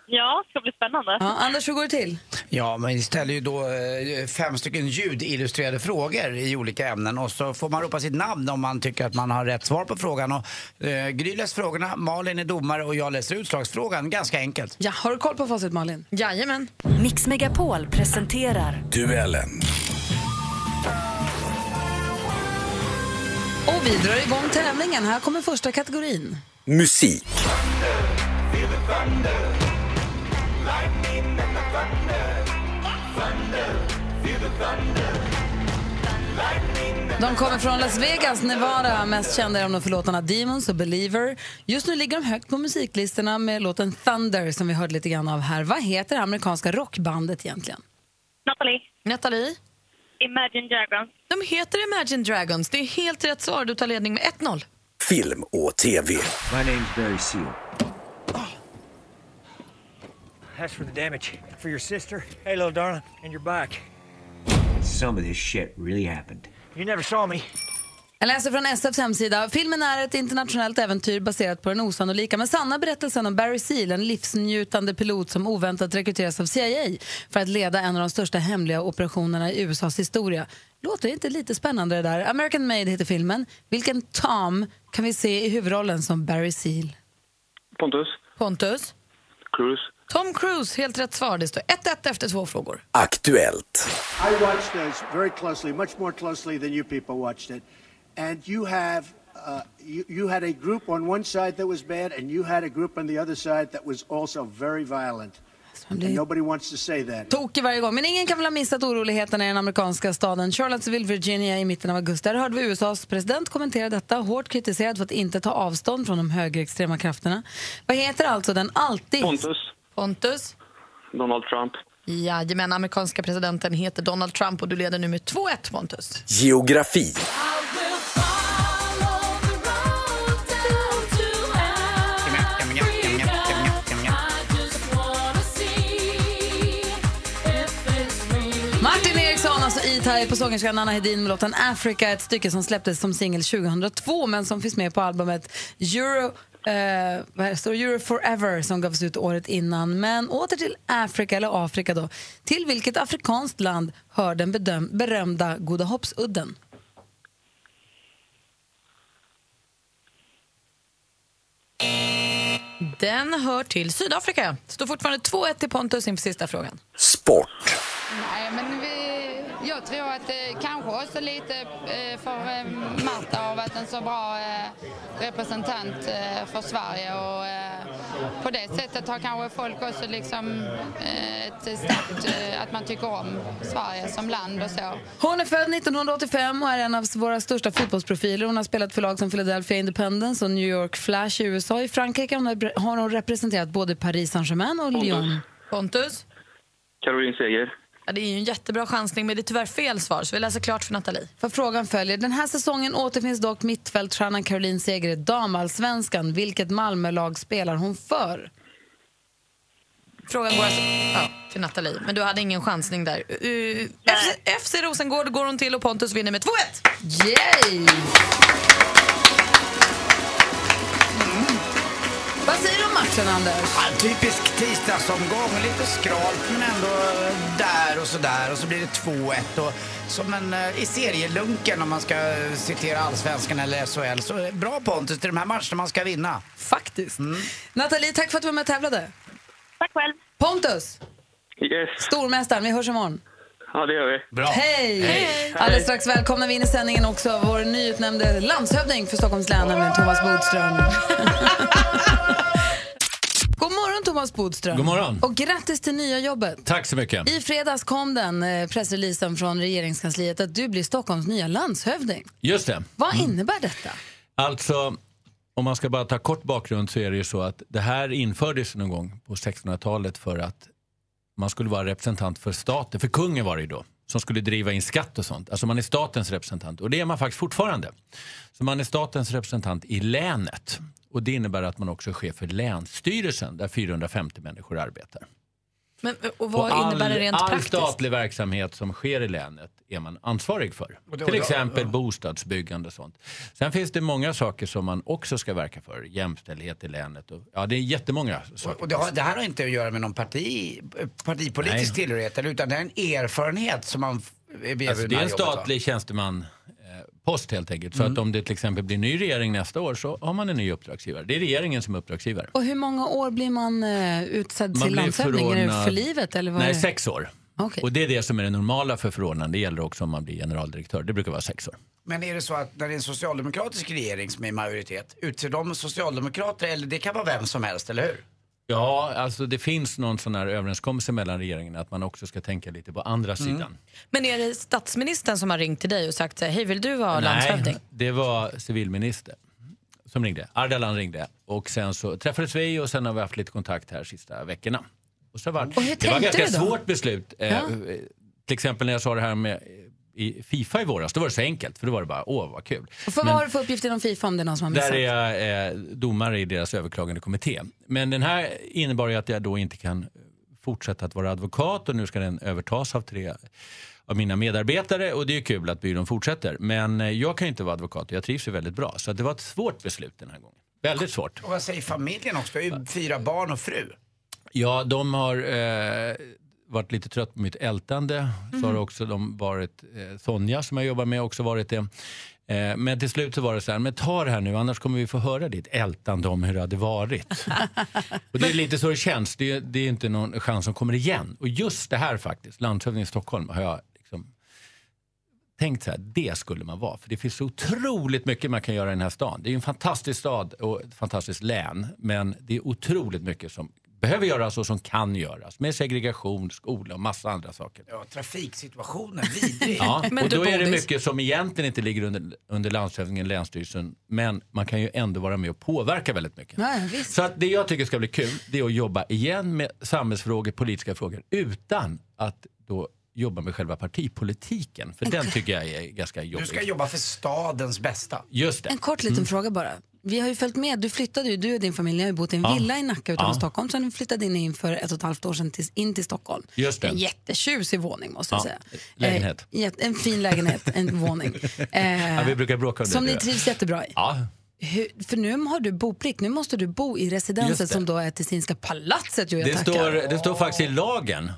[SPEAKER 13] Ja, det ska bli spännande.
[SPEAKER 1] Ja, Anders, hur går det till?
[SPEAKER 2] Ja, men vi ställer ju då eh, fem stycken ljudillustrerade frågor i olika ämnen och så får man ropa sitt namn om man tycker att man har rätt svar på frågan. Och, eh, Gry läser frågorna, Malin är domare och jag läser utslagsfrågan. Ganska enkelt.
[SPEAKER 1] Ja, har du koll på facit, Malin? Jajamän.
[SPEAKER 7] Mix Megapol presenterar
[SPEAKER 2] Duellen.
[SPEAKER 1] Och vi drar igång tävlingen. Här kommer första kategorin.
[SPEAKER 14] Musik.
[SPEAKER 1] De kommer från Las Vegas, Nevada. Mest kända är de för låtarna Demons och Believer. Just nu ligger de högt på musiklistorna med låten Thunder som vi hörde lite grann av här. Vad heter det amerikanska rockbandet egentligen?
[SPEAKER 13] Nathalie.
[SPEAKER 4] Nathalie?
[SPEAKER 13] Imagine Dragons.
[SPEAKER 4] De heter Imagine Dragons. Det är helt rätt svar. Du tar ledning med 1-0.
[SPEAKER 14] Film och TV. My name's Barry Seal.
[SPEAKER 15] Oh. That's for the damage. For your sister, hey little darling, and your bike.
[SPEAKER 14] Some of this shit really happened.
[SPEAKER 15] You never saw me.
[SPEAKER 1] Jag läser från SFs hemsida. Filmen är ett internationellt äventyr baserat på den osannolika men sanna berättelsen om Barry Seal, en livsnjutande pilot som oväntat rekryteras av CIA för att leda en av de största hemliga operationerna i USAs historia. Låter det inte lite spännande det där? American Made heter filmen. Vilken Tom kan vi se i huvudrollen som Barry Seal?
[SPEAKER 12] Pontus.
[SPEAKER 4] Pontus?
[SPEAKER 12] Cruise.
[SPEAKER 4] Tom Cruise, helt rätt svar. Det står 1-1 efter två frågor.
[SPEAKER 14] Aktuellt.
[SPEAKER 16] I watched this very closely, much more closely than you people watched it. And you have, uh, you, you had a group on one side that was bad, and you had a group on the other side that was also very violent. And nobody wants to say that.
[SPEAKER 1] Tokig varje gång. Men ingen kan väl ha missat oroligheterna i den amerikanska staden Charlottesville, Virginia i mitten av augusti. Där hörde vi USAs president kommentera detta, hårt kritiserad för att inte ta avstånd från de högerextrema krafterna. Vad heter alltså den alltid...
[SPEAKER 12] Pontus.
[SPEAKER 4] Pontus?
[SPEAKER 12] Donald Trump.
[SPEAKER 1] eh,
[SPEAKER 4] Jajamän, amerikanska presidenten heter Donald Trump och du leder nu med 2-1 Pontus.
[SPEAKER 14] Geografi.
[SPEAKER 1] Martin Eriksson, alltså E-Type på sångerskan Anna Hedin med låten Africa, ett stycke som släpptes som singel 2002 men som finns med på albumet Euro, eh, vad här står det? Euro Forever som gavs ut året innan. Men åter till Afrika, eller Afrika då. Till vilket afrikanskt land hör den bedöm- berömda Goda Hoppsudden?
[SPEAKER 4] Den hör till Sydafrika. Står fortfarande 2-1 till Pontus inför sista frågan.
[SPEAKER 14] Sport.
[SPEAKER 17] Nej, men vi, jag tror att det kanske också lite eh, för eh, Marta har varit en så bra eh, representant eh, för Sverige och eh, på det sättet har kanske folk också liksom eh, ett starkt, eh, att man tycker om Sverige som land och så.
[SPEAKER 1] Hon är född 1985 och är en av våra största fotbollsprofiler. Hon har spelat för lag som Philadelphia Independence och New York Flash i USA. I Frankrike har hon repre- har hon representerat både Paris Saint-Germain och Lyon.
[SPEAKER 4] Pontus?
[SPEAKER 12] Caroline Seger.
[SPEAKER 4] Ja, det är ju en jättebra chansning men det är tyvärr fel svar så vi läser klart för Nathalie.
[SPEAKER 1] För frågan följer. Den här säsongen återfinns dock mittfältstjärnan Caroline Seger i damallsvenskan. Vilket Malmölag spelar hon för?
[SPEAKER 4] Frågan går alltså ja, till Nathalie, men du hade ingen chansning där. Uh, FC, FC Rosengård går hon till och Pontus vinner med 2-1.
[SPEAKER 1] Yay! Mm. Vad säger du om matchen, Anders?
[SPEAKER 2] Ja, en typisk tisdagsomgång, lite skralt men ändå eh, där och sådär och så blir det 2-1 och som en eh, i serielunken om man ska eh, citera allsvenskan eller SHL så eh, bra Pontus till de här matcherna man ska vinna.
[SPEAKER 1] Faktiskt. Mm. Nathalie, tack för att du var med och tävlade.
[SPEAKER 13] Tack själv.
[SPEAKER 1] Pontus,
[SPEAKER 12] Yes.
[SPEAKER 1] stormästaren, vi hörs imorgon.
[SPEAKER 12] Ja, det gör vi. Bra.
[SPEAKER 1] Hej! Alldeles strax välkomnar vi in i sändningen också vår nyutnämnde landshövding för Stockholms län, nämligen Thomas Bodström. God morgon, Thomas Bodström.
[SPEAKER 9] God morgon.
[SPEAKER 1] Och grattis till nya jobbet.
[SPEAKER 9] Tack så mycket.
[SPEAKER 1] I fredags kom den eh, pressreleasen från regeringskansliet att du blir Stockholms nya landshövding.
[SPEAKER 9] Just det.
[SPEAKER 1] Vad innebär detta?
[SPEAKER 9] Alltså, om man ska bara ta kort bakgrund så är det ju så att det här infördes någon gång på 1600-talet för att man skulle vara representant för staten, för kungen var det ju då, som skulle driva in skatt och sånt. Alltså man är statens representant och det är man faktiskt fortfarande. Så man är statens representant i länet och det innebär att man också är chef för länsstyrelsen där 450 människor arbetar.
[SPEAKER 4] Men, och vad
[SPEAKER 9] Och
[SPEAKER 4] innebär det rent
[SPEAKER 9] all
[SPEAKER 4] praktiskt?
[SPEAKER 9] statlig verksamhet som sker i länet är man ansvarig för.
[SPEAKER 4] Och då-
[SPEAKER 9] Till
[SPEAKER 4] då-
[SPEAKER 9] exempel bostadsbyggande och sånt. Sen finns det många saker som man också ska verka för. Jämställdhet i länet. Och, ja, det är jättemånga saker.
[SPEAKER 2] Och det, har, det här har inte att göra med någon parti, partipolitisk tillhörighet eller, utan det är en erfarenhet som man f- är via
[SPEAKER 9] Alltså,
[SPEAKER 2] med
[SPEAKER 9] det är
[SPEAKER 2] här
[SPEAKER 9] en
[SPEAKER 2] jobbet, va?
[SPEAKER 9] statlig tjänsteman post helt enkelt. Så
[SPEAKER 2] Mm.
[SPEAKER 9] att om det till exempel blir ny regering nästa år så har man en ny uppdragsgivare. Det är regeringen som är uppdragsgivare.
[SPEAKER 1] Och hur många år blir man eh, utsedd
[SPEAKER 9] Man
[SPEAKER 1] till
[SPEAKER 9] blir
[SPEAKER 1] landshövding? Är det
[SPEAKER 9] förordnad-
[SPEAKER 1] för livet? Eller vad är
[SPEAKER 9] Nej,
[SPEAKER 1] det?
[SPEAKER 9] sex år.
[SPEAKER 1] Okej.
[SPEAKER 9] Och det är det som är det normala för förordnande. Det gäller också om man blir generaldirektör. Det brukar vara sex år.
[SPEAKER 2] Men är det så att när det är en socialdemokratisk regering som är i majoritet, utser de socialdemokrater eller det kan vara vem som helst, eller hur?
[SPEAKER 9] Ja, alltså det finns någon sån här överenskommelse mellan regeringen att man också ska tänka lite på andra sidan.
[SPEAKER 4] Men är det statsministern som har ringt till dig och sagt så här, hej vill du vara landshövding?
[SPEAKER 9] Nej, det var civilminister som ringde. Ardalan ringde och sen så träffades vi och sen har vi haft lite kontakt här sista veckorna. Och så var, det var
[SPEAKER 8] tänkte du
[SPEAKER 9] ganska
[SPEAKER 8] då?
[SPEAKER 9] svårt beslut. Eh,
[SPEAKER 8] Ja.
[SPEAKER 9] Till exempel när jag sa det här med eh, i Fifa i våras, då var det så enkelt för då var det bara åh vad kul.
[SPEAKER 1] Och För
[SPEAKER 9] Men-
[SPEAKER 1] vad har du för uppgifter om Fifa om det är någon som har missat?
[SPEAKER 9] där är jag eh, domare i deras överklagande kommitté. Men den här innebar ju att jag då inte kan fortsätta att vara advokat och nu ska den övertas av tre av mina medarbetare och det är ju kul att byrån fortsätter. Men eh, jag kan ju inte vara advokat och jag trivs ju väldigt bra. Så att det var ett svårt beslut den här gången. Väldigt svårt.
[SPEAKER 2] Och vad säger familjen också? Det är ju fyra barn och fru.
[SPEAKER 9] Ja, de har eh, varit lite trött på mitt ältande. Så
[SPEAKER 1] Mm.
[SPEAKER 9] har också de varit, eh, Sonja som jag jobbar med har också varit det. Eh, men till slut så var det så här, men ta det här nu annars kommer vi få höra ditt ältande om hur det hade varit. och det är lite så det känns, det är, det är inte någon chans som kommer igen. Och just det här faktiskt, landshövding i Stockholm har jag liksom tänkt så här, det skulle man vara. För det finns så otroligt mycket man kan göra i den här stan. Det är ju en fantastisk stad och ett fantastiskt län. Men det är otroligt mycket som behöver göras och som kan göras. Med segregation, skola och massa andra saker.
[SPEAKER 2] Ja, trafiksituationen, vidrig.
[SPEAKER 9] Ja, och då är det mycket som egentligen inte ligger under, under landshövdingen, länsstyrelsen. Men man kan ju ändå vara med och påverka väldigt mycket.
[SPEAKER 1] Nej, visst.
[SPEAKER 9] Så att det jag tycker ska bli kul det är att jobba igen med samhällsfrågor, politiska frågor utan att då jobba med själva partipolitiken. För den tycker jag är ganska jobbig.
[SPEAKER 2] Du ska jobba för stadens bästa.
[SPEAKER 9] Just det.
[SPEAKER 1] En kort liten fråga bara. Vi har ju följt med. Du flyttade ju, du och din familj har ju bott i en
[SPEAKER 9] Ja.
[SPEAKER 1] villa i Nacka utanför
[SPEAKER 9] Ja.
[SPEAKER 1] Stockholm. Sen flyttade ni in för ett och ett halvt år sedan till, in till Stockholm.
[SPEAKER 9] Just det.
[SPEAKER 1] En jättetjusig våning måste jag
[SPEAKER 9] Ja,
[SPEAKER 1] säga.
[SPEAKER 9] lägenhet.
[SPEAKER 1] Eh, jätte- en fin lägenhet, en våning. Eh,
[SPEAKER 9] Ja, vi brukar bråka om
[SPEAKER 1] som
[SPEAKER 9] det. tror
[SPEAKER 1] ni
[SPEAKER 9] jag.
[SPEAKER 1] trivs jättebra i.
[SPEAKER 9] Ja,
[SPEAKER 1] Hur, för nu har du boplikt, nu måste du bo i
[SPEAKER 9] Just
[SPEAKER 1] residenset
[SPEAKER 9] det.
[SPEAKER 1] som då är Tessinska palatset. Jo, jag
[SPEAKER 9] det
[SPEAKER 1] tackar.
[SPEAKER 9] står, det står faktiskt i lagen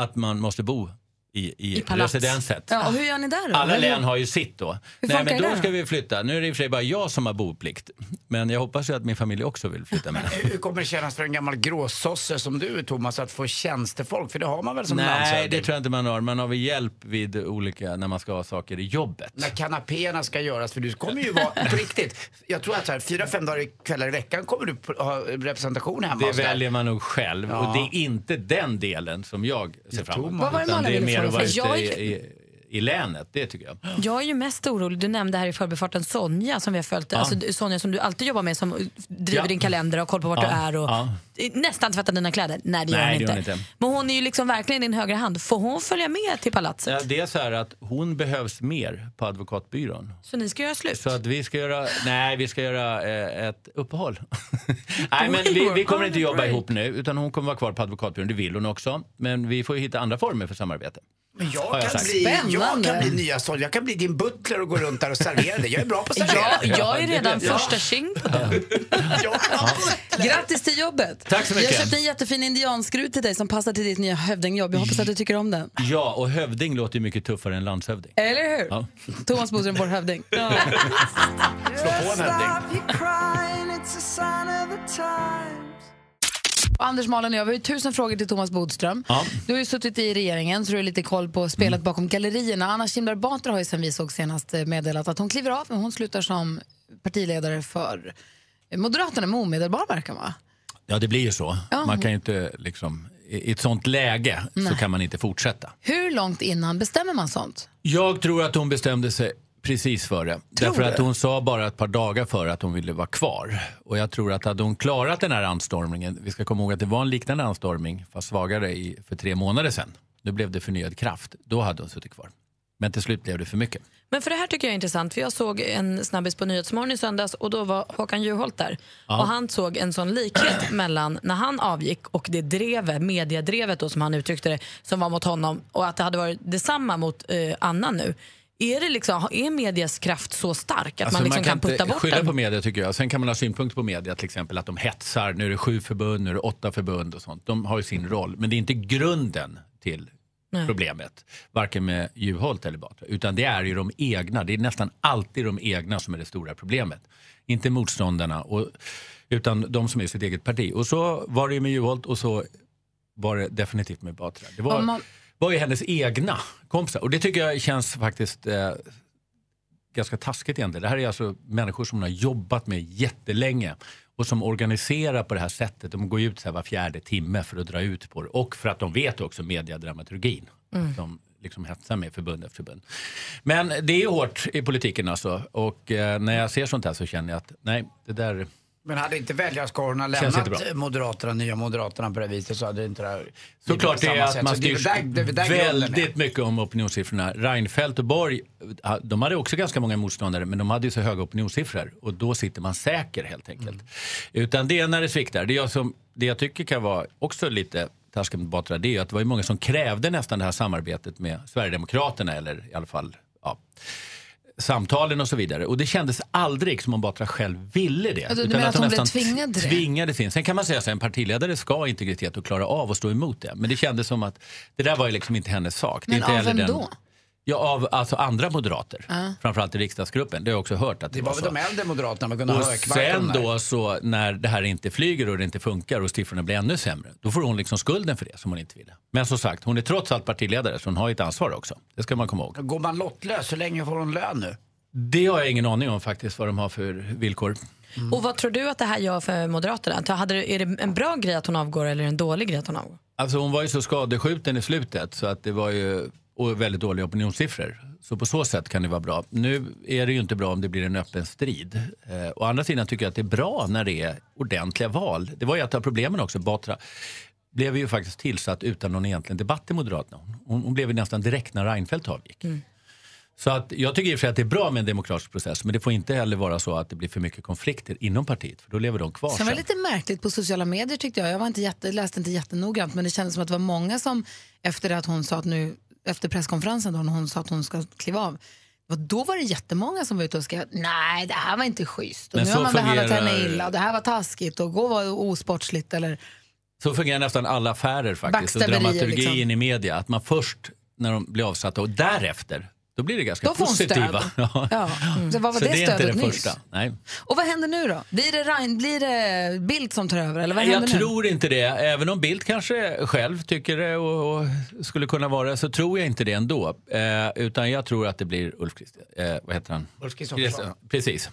[SPEAKER 9] att man måste bo i, i,
[SPEAKER 1] palats.
[SPEAKER 9] residenset.
[SPEAKER 1] Ja, och hur gör ni där då?
[SPEAKER 9] Alla
[SPEAKER 1] Eller-
[SPEAKER 9] län har ju sitt då.
[SPEAKER 1] Hur
[SPEAKER 9] Nej,
[SPEAKER 1] funkar
[SPEAKER 9] men
[SPEAKER 1] det
[SPEAKER 9] då
[SPEAKER 1] då?
[SPEAKER 9] ska vi flytta. Nu är det i och för sig bara jag som har boplikt. Men jag hoppas ju att min familj också vill flytta med.
[SPEAKER 2] Hur kommer det kännas för en gammal gråsosse som du Thomas att få tjänstefolk? För det har man väl som
[SPEAKER 9] Nej,
[SPEAKER 2] landshövding?
[SPEAKER 9] det tror jag inte man har. Man har väl hjälp vid olika, när man ska ha saker i jobbet.
[SPEAKER 2] När kanapéerna ska göras, för du kommer ju vara, på riktigt, jag tror att så här, fyra, fem dagar i kvällar i veckan kommer du på- ha representation hemma
[SPEAKER 9] Det
[SPEAKER 2] hos dig.
[SPEAKER 9] väljer man nog själv
[SPEAKER 2] Ja.
[SPEAKER 9] och det är inte den delen som jag ser fram emot.
[SPEAKER 4] Vad var det
[SPEAKER 9] utan
[SPEAKER 4] Malin
[SPEAKER 9] det är
[SPEAKER 4] ville
[SPEAKER 9] mer
[SPEAKER 4] fråga
[SPEAKER 9] att vara
[SPEAKER 4] för?
[SPEAKER 9] ute
[SPEAKER 4] Jag-
[SPEAKER 9] i, i, i länet, det tycker jag.
[SPEAKER 4] Jag är ju mest orolig, du nämnde här i förbifarten Sonja som vi har följt,
[SPEAKER 9] Ja.
[SPEAKER 4] alltså du- Sonja som du alltid jobbar med som driver
[SPEAKER 9] Ja.
[SPEAKER 4] din kalender och har koll på vart
[SPEAKER 9] Ja.
[SPEAKER 4] du är och
[SPEAKER 9] Ja.
[SPEAKER 4] nästan tvättar dina kläder. Nej det gör
[SPEAKER 9] Nej,
[SPEAKER 4] hon
[SPEAKER 9] det
[SPEAKER 4] inte.
[SPEAKER 9] gör hon inte.
[SPEAKER 4] Men hon är ju liksom verkligen din högra hand. Får hon följa med till palatset?
[SPEAKER 9] Ja, Det är så här att hon behövs mer på advokatbyrån.
[SPEAKER 4] Så ni ska göra slut?
[SPEAKER 9] Så att vi ska göra, nej vi ska göra eh, ett uppehåll. nej men vi, vi kommer inte jobba ihop nu utan hon kommer vara kvar på advokatbyrån, det vill hon också. Men vi får ju hitta andra former för samarbete.
[SPEAKER 2] Men jag
[SPEAKER 9] Har jag
[SPEAKER 2] kan,
[SPEAKER 9] sagt.
[SPEAKER 2] bli, jag kan
[SPEAKER 9] Spännande.
[SPEAKER 2] bli nya Sol, jag kan bli din butler och gå runt där och servera dig. Jag är bra på att servera.
[SPEAKER 4] Ja, jag är redan
[SPEAKER 2] Ja.
[SPEAKER 4] första tjing på
[SPEAKER 1] Grattis till jobbet!
[SPEAKER 9] Tack så mycket.
[SPEAKER 1] Jag köpte en jättefin indianskrut till dig som passar till ditt nya hövdingjobb. Jag hoppas att du tycker om den.
[SPEAKER 9] Ja, och hövding låter ju mycket tuffare än landshövding.
[SPEAKER 1] Eller hur?
[SPEAKER 9] Ja.
[SPEAKER 1] Thomas Bodström, vår hövding.
[SPEAKER 9] Slå på en hövding.
[SPEAKER 1] Och Anders, Malin och jag, vi har ju tusen frågor till Thomas Bodström.
[SPEAKER 9] Ja. Mm.
[SPEAKER 1] Du har ju suttit i regeringen så du är lite koll på spelet bakom gallerierna. Anna Kinberg Batra har ju sen vi såg senast eh, meddelat att hon kliver av men hon slutar som partiledare för Moderaterna med omedelbar verkan va?
[SPEAKER 9] Ja, det blir ju så.
[SPEAKER 1] Ja.
[SPEAKER 9] Man kan ju inte liksom, i i ett sånt läge så kan man inte fortsätta.
[SPEAKER 1] Hur långt innan bestämmer man sånt?
[SPEAKER 9] Jag tror att hon bestämde sig precis före. Därför att hon sa bara ett par dagar före att hon ville vara kvar. Och jag tror att hade hon klarat den här anstormningen, vi ska komma ihåg att det var en liknande anstormning fast svagare i, för tre månader sedan. Nu blev det förnyad kraft. Då hade hon suttit kvar. Men till slut blev det för mycket.
[SPEAKER 4] Men för det här tycker jag är intressant, för jag såg en snabbis på Nyhetsmorgon i söndags och då var Håkan Juholt där.
[SPEAKER 9] Ja.
[SPEAKER 4] Och han såg en sån likhet mellan när han avgick och det drevet, mediedrevet då som han uttryckte det, som var mot honom och att det hade varit detsamma mot eh, Anna nu. Är, det liksom, är medias kraft så stark att man,
[SPEAKER 9] Alltså,
[SPEAKER 4] liksom kan,
[SPEAKER 9] inte
[SPEAKER 4] putta bort
[SPEAKER 9] skylla
[SPEAKER 4] den?
[SPEAKER 9] på media tycker jag. Sen kan man ha synpunkter på media till exempel att de hetsar. Nu är det sju förbund, nu är det åtta förbund och sånt. De har ju sin roll. Men det är inte grunden till
[SPEAKER 4] Nej.
[SPEAKER 9] problemet. Varken med Juholt eller Batra. Utan det är ju de egna. Det är nästan alltid de egna som är det stora problemet. Inte motståndarna. Och, utan de som är sitt eget parti. Och så var det ju med Juholt och så var det definitivt med Batra. Det var,
[SPEAKER 1] Om man-
[SPEAKER 9] var ju hennes egna kompisar. Och det tycker jag känns faktiskt eh, ganska taskigt egentligen. Det här är alltså människor som hon har jobbat med jättelänge och som organiserar på det här sättet. De går ju ut så här var fjärde timme för att dra ut på det och för att de vet också mediadramaturgin.
[SPEAKER 18] Mm.
[SPEAKER 9] De liksom hetsar med förbund efter förbund. Men det är ju hårt i politiken alltså och eh, när jag ser sånt här så känner jag att nej, det där...
[SPEAKER 2] Men hade inte väljarskarorna
[SPEAKER 9] Känns
[SPEAKER 2] lämnat
[SPEAKER 9] jättebra.
[SPEAKER 2] Moderaterna, Nya Moderaterna på det här viset så hade det inte det här
[SPEAKER 9] Såklart det
[SPEAKER 2] blivit på samma
[SPEAKER 9] är att
[SPEAKER 2] sätt.
[SPEAKER 9] man
[SPEAKER 2] Så det är
[SPEAKER 9] styrs
[SPEAKER 2] väl där- det är väl där grunden är.
[SPEAKER 9] väldigt mycket om opinionssiffrorna. Reinfeldt och Borg, de hade också ganska många motståndare men de hade ju så höga opinionssiffror och då sitter man säker helt enkelt.
[SPEAKER 2] Mm.
[SPEAKER 9] Utan det är när det sviktar. Det jag, som, det jag tycker kan vara också lite taskigt mot Batra det är ju att det var ju många som krävde nästan det här samarbetet med Sverigedemokraterna eller i alla fall ja, samtalen och så vidare. Och det kändes aldrig som om Batra själv ville det.
[SPEAKER 1] Ja, Alltså, du- du menar att hon blev tvingad till det?
[SPEAKER 9] tvingades in. Sen kan man säga att en partiledare ska ha integritet och klara av att stå emot det. Men det kändes som att det där var ju liksom inte hennes sak. det är
[SPEAKER 1] Men
[SPEAKER 9] inte
[SPEAKER 1] av
[SPEAKER 9] heller
[SPEAKER 1] vem då? Ah.
[SPEAKER 9] Ja, av alltså andra moderater. Framförallt i riksdagsgruppen. Det har jag också hört att det,
[SPEAKER 2] Det var
[SPEAKER 9] så.
[SPEAKER 2] väl de äldre Moderaterna med Gunnar
[SPEAKER 9] Och
[SPEAKER 2] Hökmark och de
[SPEAKER 9] sen
[SPEAKER 2] där.
[SPEAKER 9] då så när det här inte flyger och det inte funkar och siffrorna blir ännu sämre, då får hon liksom skulden för det som hon inte ville. Men som sagt, hon är trots allt partiledare så hon har ju ett ansvar också. Det ska man komma ihåg.
[SPEAKER 2] Går man lottlös, hur länge får hon lön nu?
[SPEAKER 9] Det har jag ingen aning om faktiskt vad de har för villkor. Mm.
[SPEAKER 4] Och vad tror du att det här gör för Moderaterna? Ta- Hade, det- är det en bra grej att hon avgår eller en dålig grej att hon avgår?
[SPEAKER 9] Alltså hon var ju så skadeskjuten i slutet så att det var ju och väldigt dåliga opinionssiffror. Så på så sätt kan det vara bra. Nu är det ju inte bra om det blir en öppen strid. Eh, å andra sidan tycker jag att det är bra när det är ordentliga val. Det var ju ett av problemen också. Batra blev ju faktiskt tillsatt utan någon egentlig debatt i Moderaterna. Hon, hon blev ju nästan direkt när Reinfeldt avgick.
[SPEAKER 1] Mm.
[SPEAKER 9] Så att jag tycker i och för sig att det är bra med en demokratisk process men det får inte heller vara så att det blir för mycket konflikter inom partiet för då lever de kvar
[SPEAKER 1] Sen var det
[SPEAKER 9] sen.
[SPEAKER 1] lite märkligt på sociala medier tyckte jag. Jag var inte jätte, läste inte jättenoggrant men det kändes som att det var många som efter att hon sa att nu, efter presskonferensen då när hon sa att hon ska kliva av, och då var det jättemånga som var ute och skrev att nej det här var inte schysst och
[SPEAKER 9] Men
[SPEAKER 1] nu har
[SPEAKER 9] så
[SPEAKER 1] man behandlat
[SPEAKER 9] fungerar-
[SPEAKER 1] henne illa och det här var taskigt och gå var osportsligt eller
[SPEAKER 9] Så fungerar nästan alla affärer faktiskt. Och
[SPEAKER 1] Backstabberier,
[SPEAKER 9] dramaturgin
[SPEAKER 1] liksom.
[SPEAKER 9] i media. Att man först när de blir avsatta och därefter, då blir det ganska
[SPEAKER 1] Då får hon stöd.
[SPEAKER 9] positiva. Ja.
[SPEAKER 1] Ja. Så vad var det,
[SPEAKER 9] Så det är inte
[SPEAKER 1] stödet
[SPEAKER 9] det
[SPEAKER 1] nyss?
[SPEAKER 9] första. Nej.
[SPEAKER 1] Och vad händer nu då? Blir det, Rein, blir det Bildt som tar över eller vad händer
[SPEAKER 9] Jag
[SPEAKER 1] nu?
[SPEAKER 9] tror inte det. Även om Bildt kanske själv tycker det och, och skulle kunna vara det så tror jag inte det ändå. Eh, utan jag tror att det blir Ulf Christ, eh, vad heter han?
[SPEAKER 2] Ulf Kristoffersson.
[SPEAKER 9] Christ- Precis.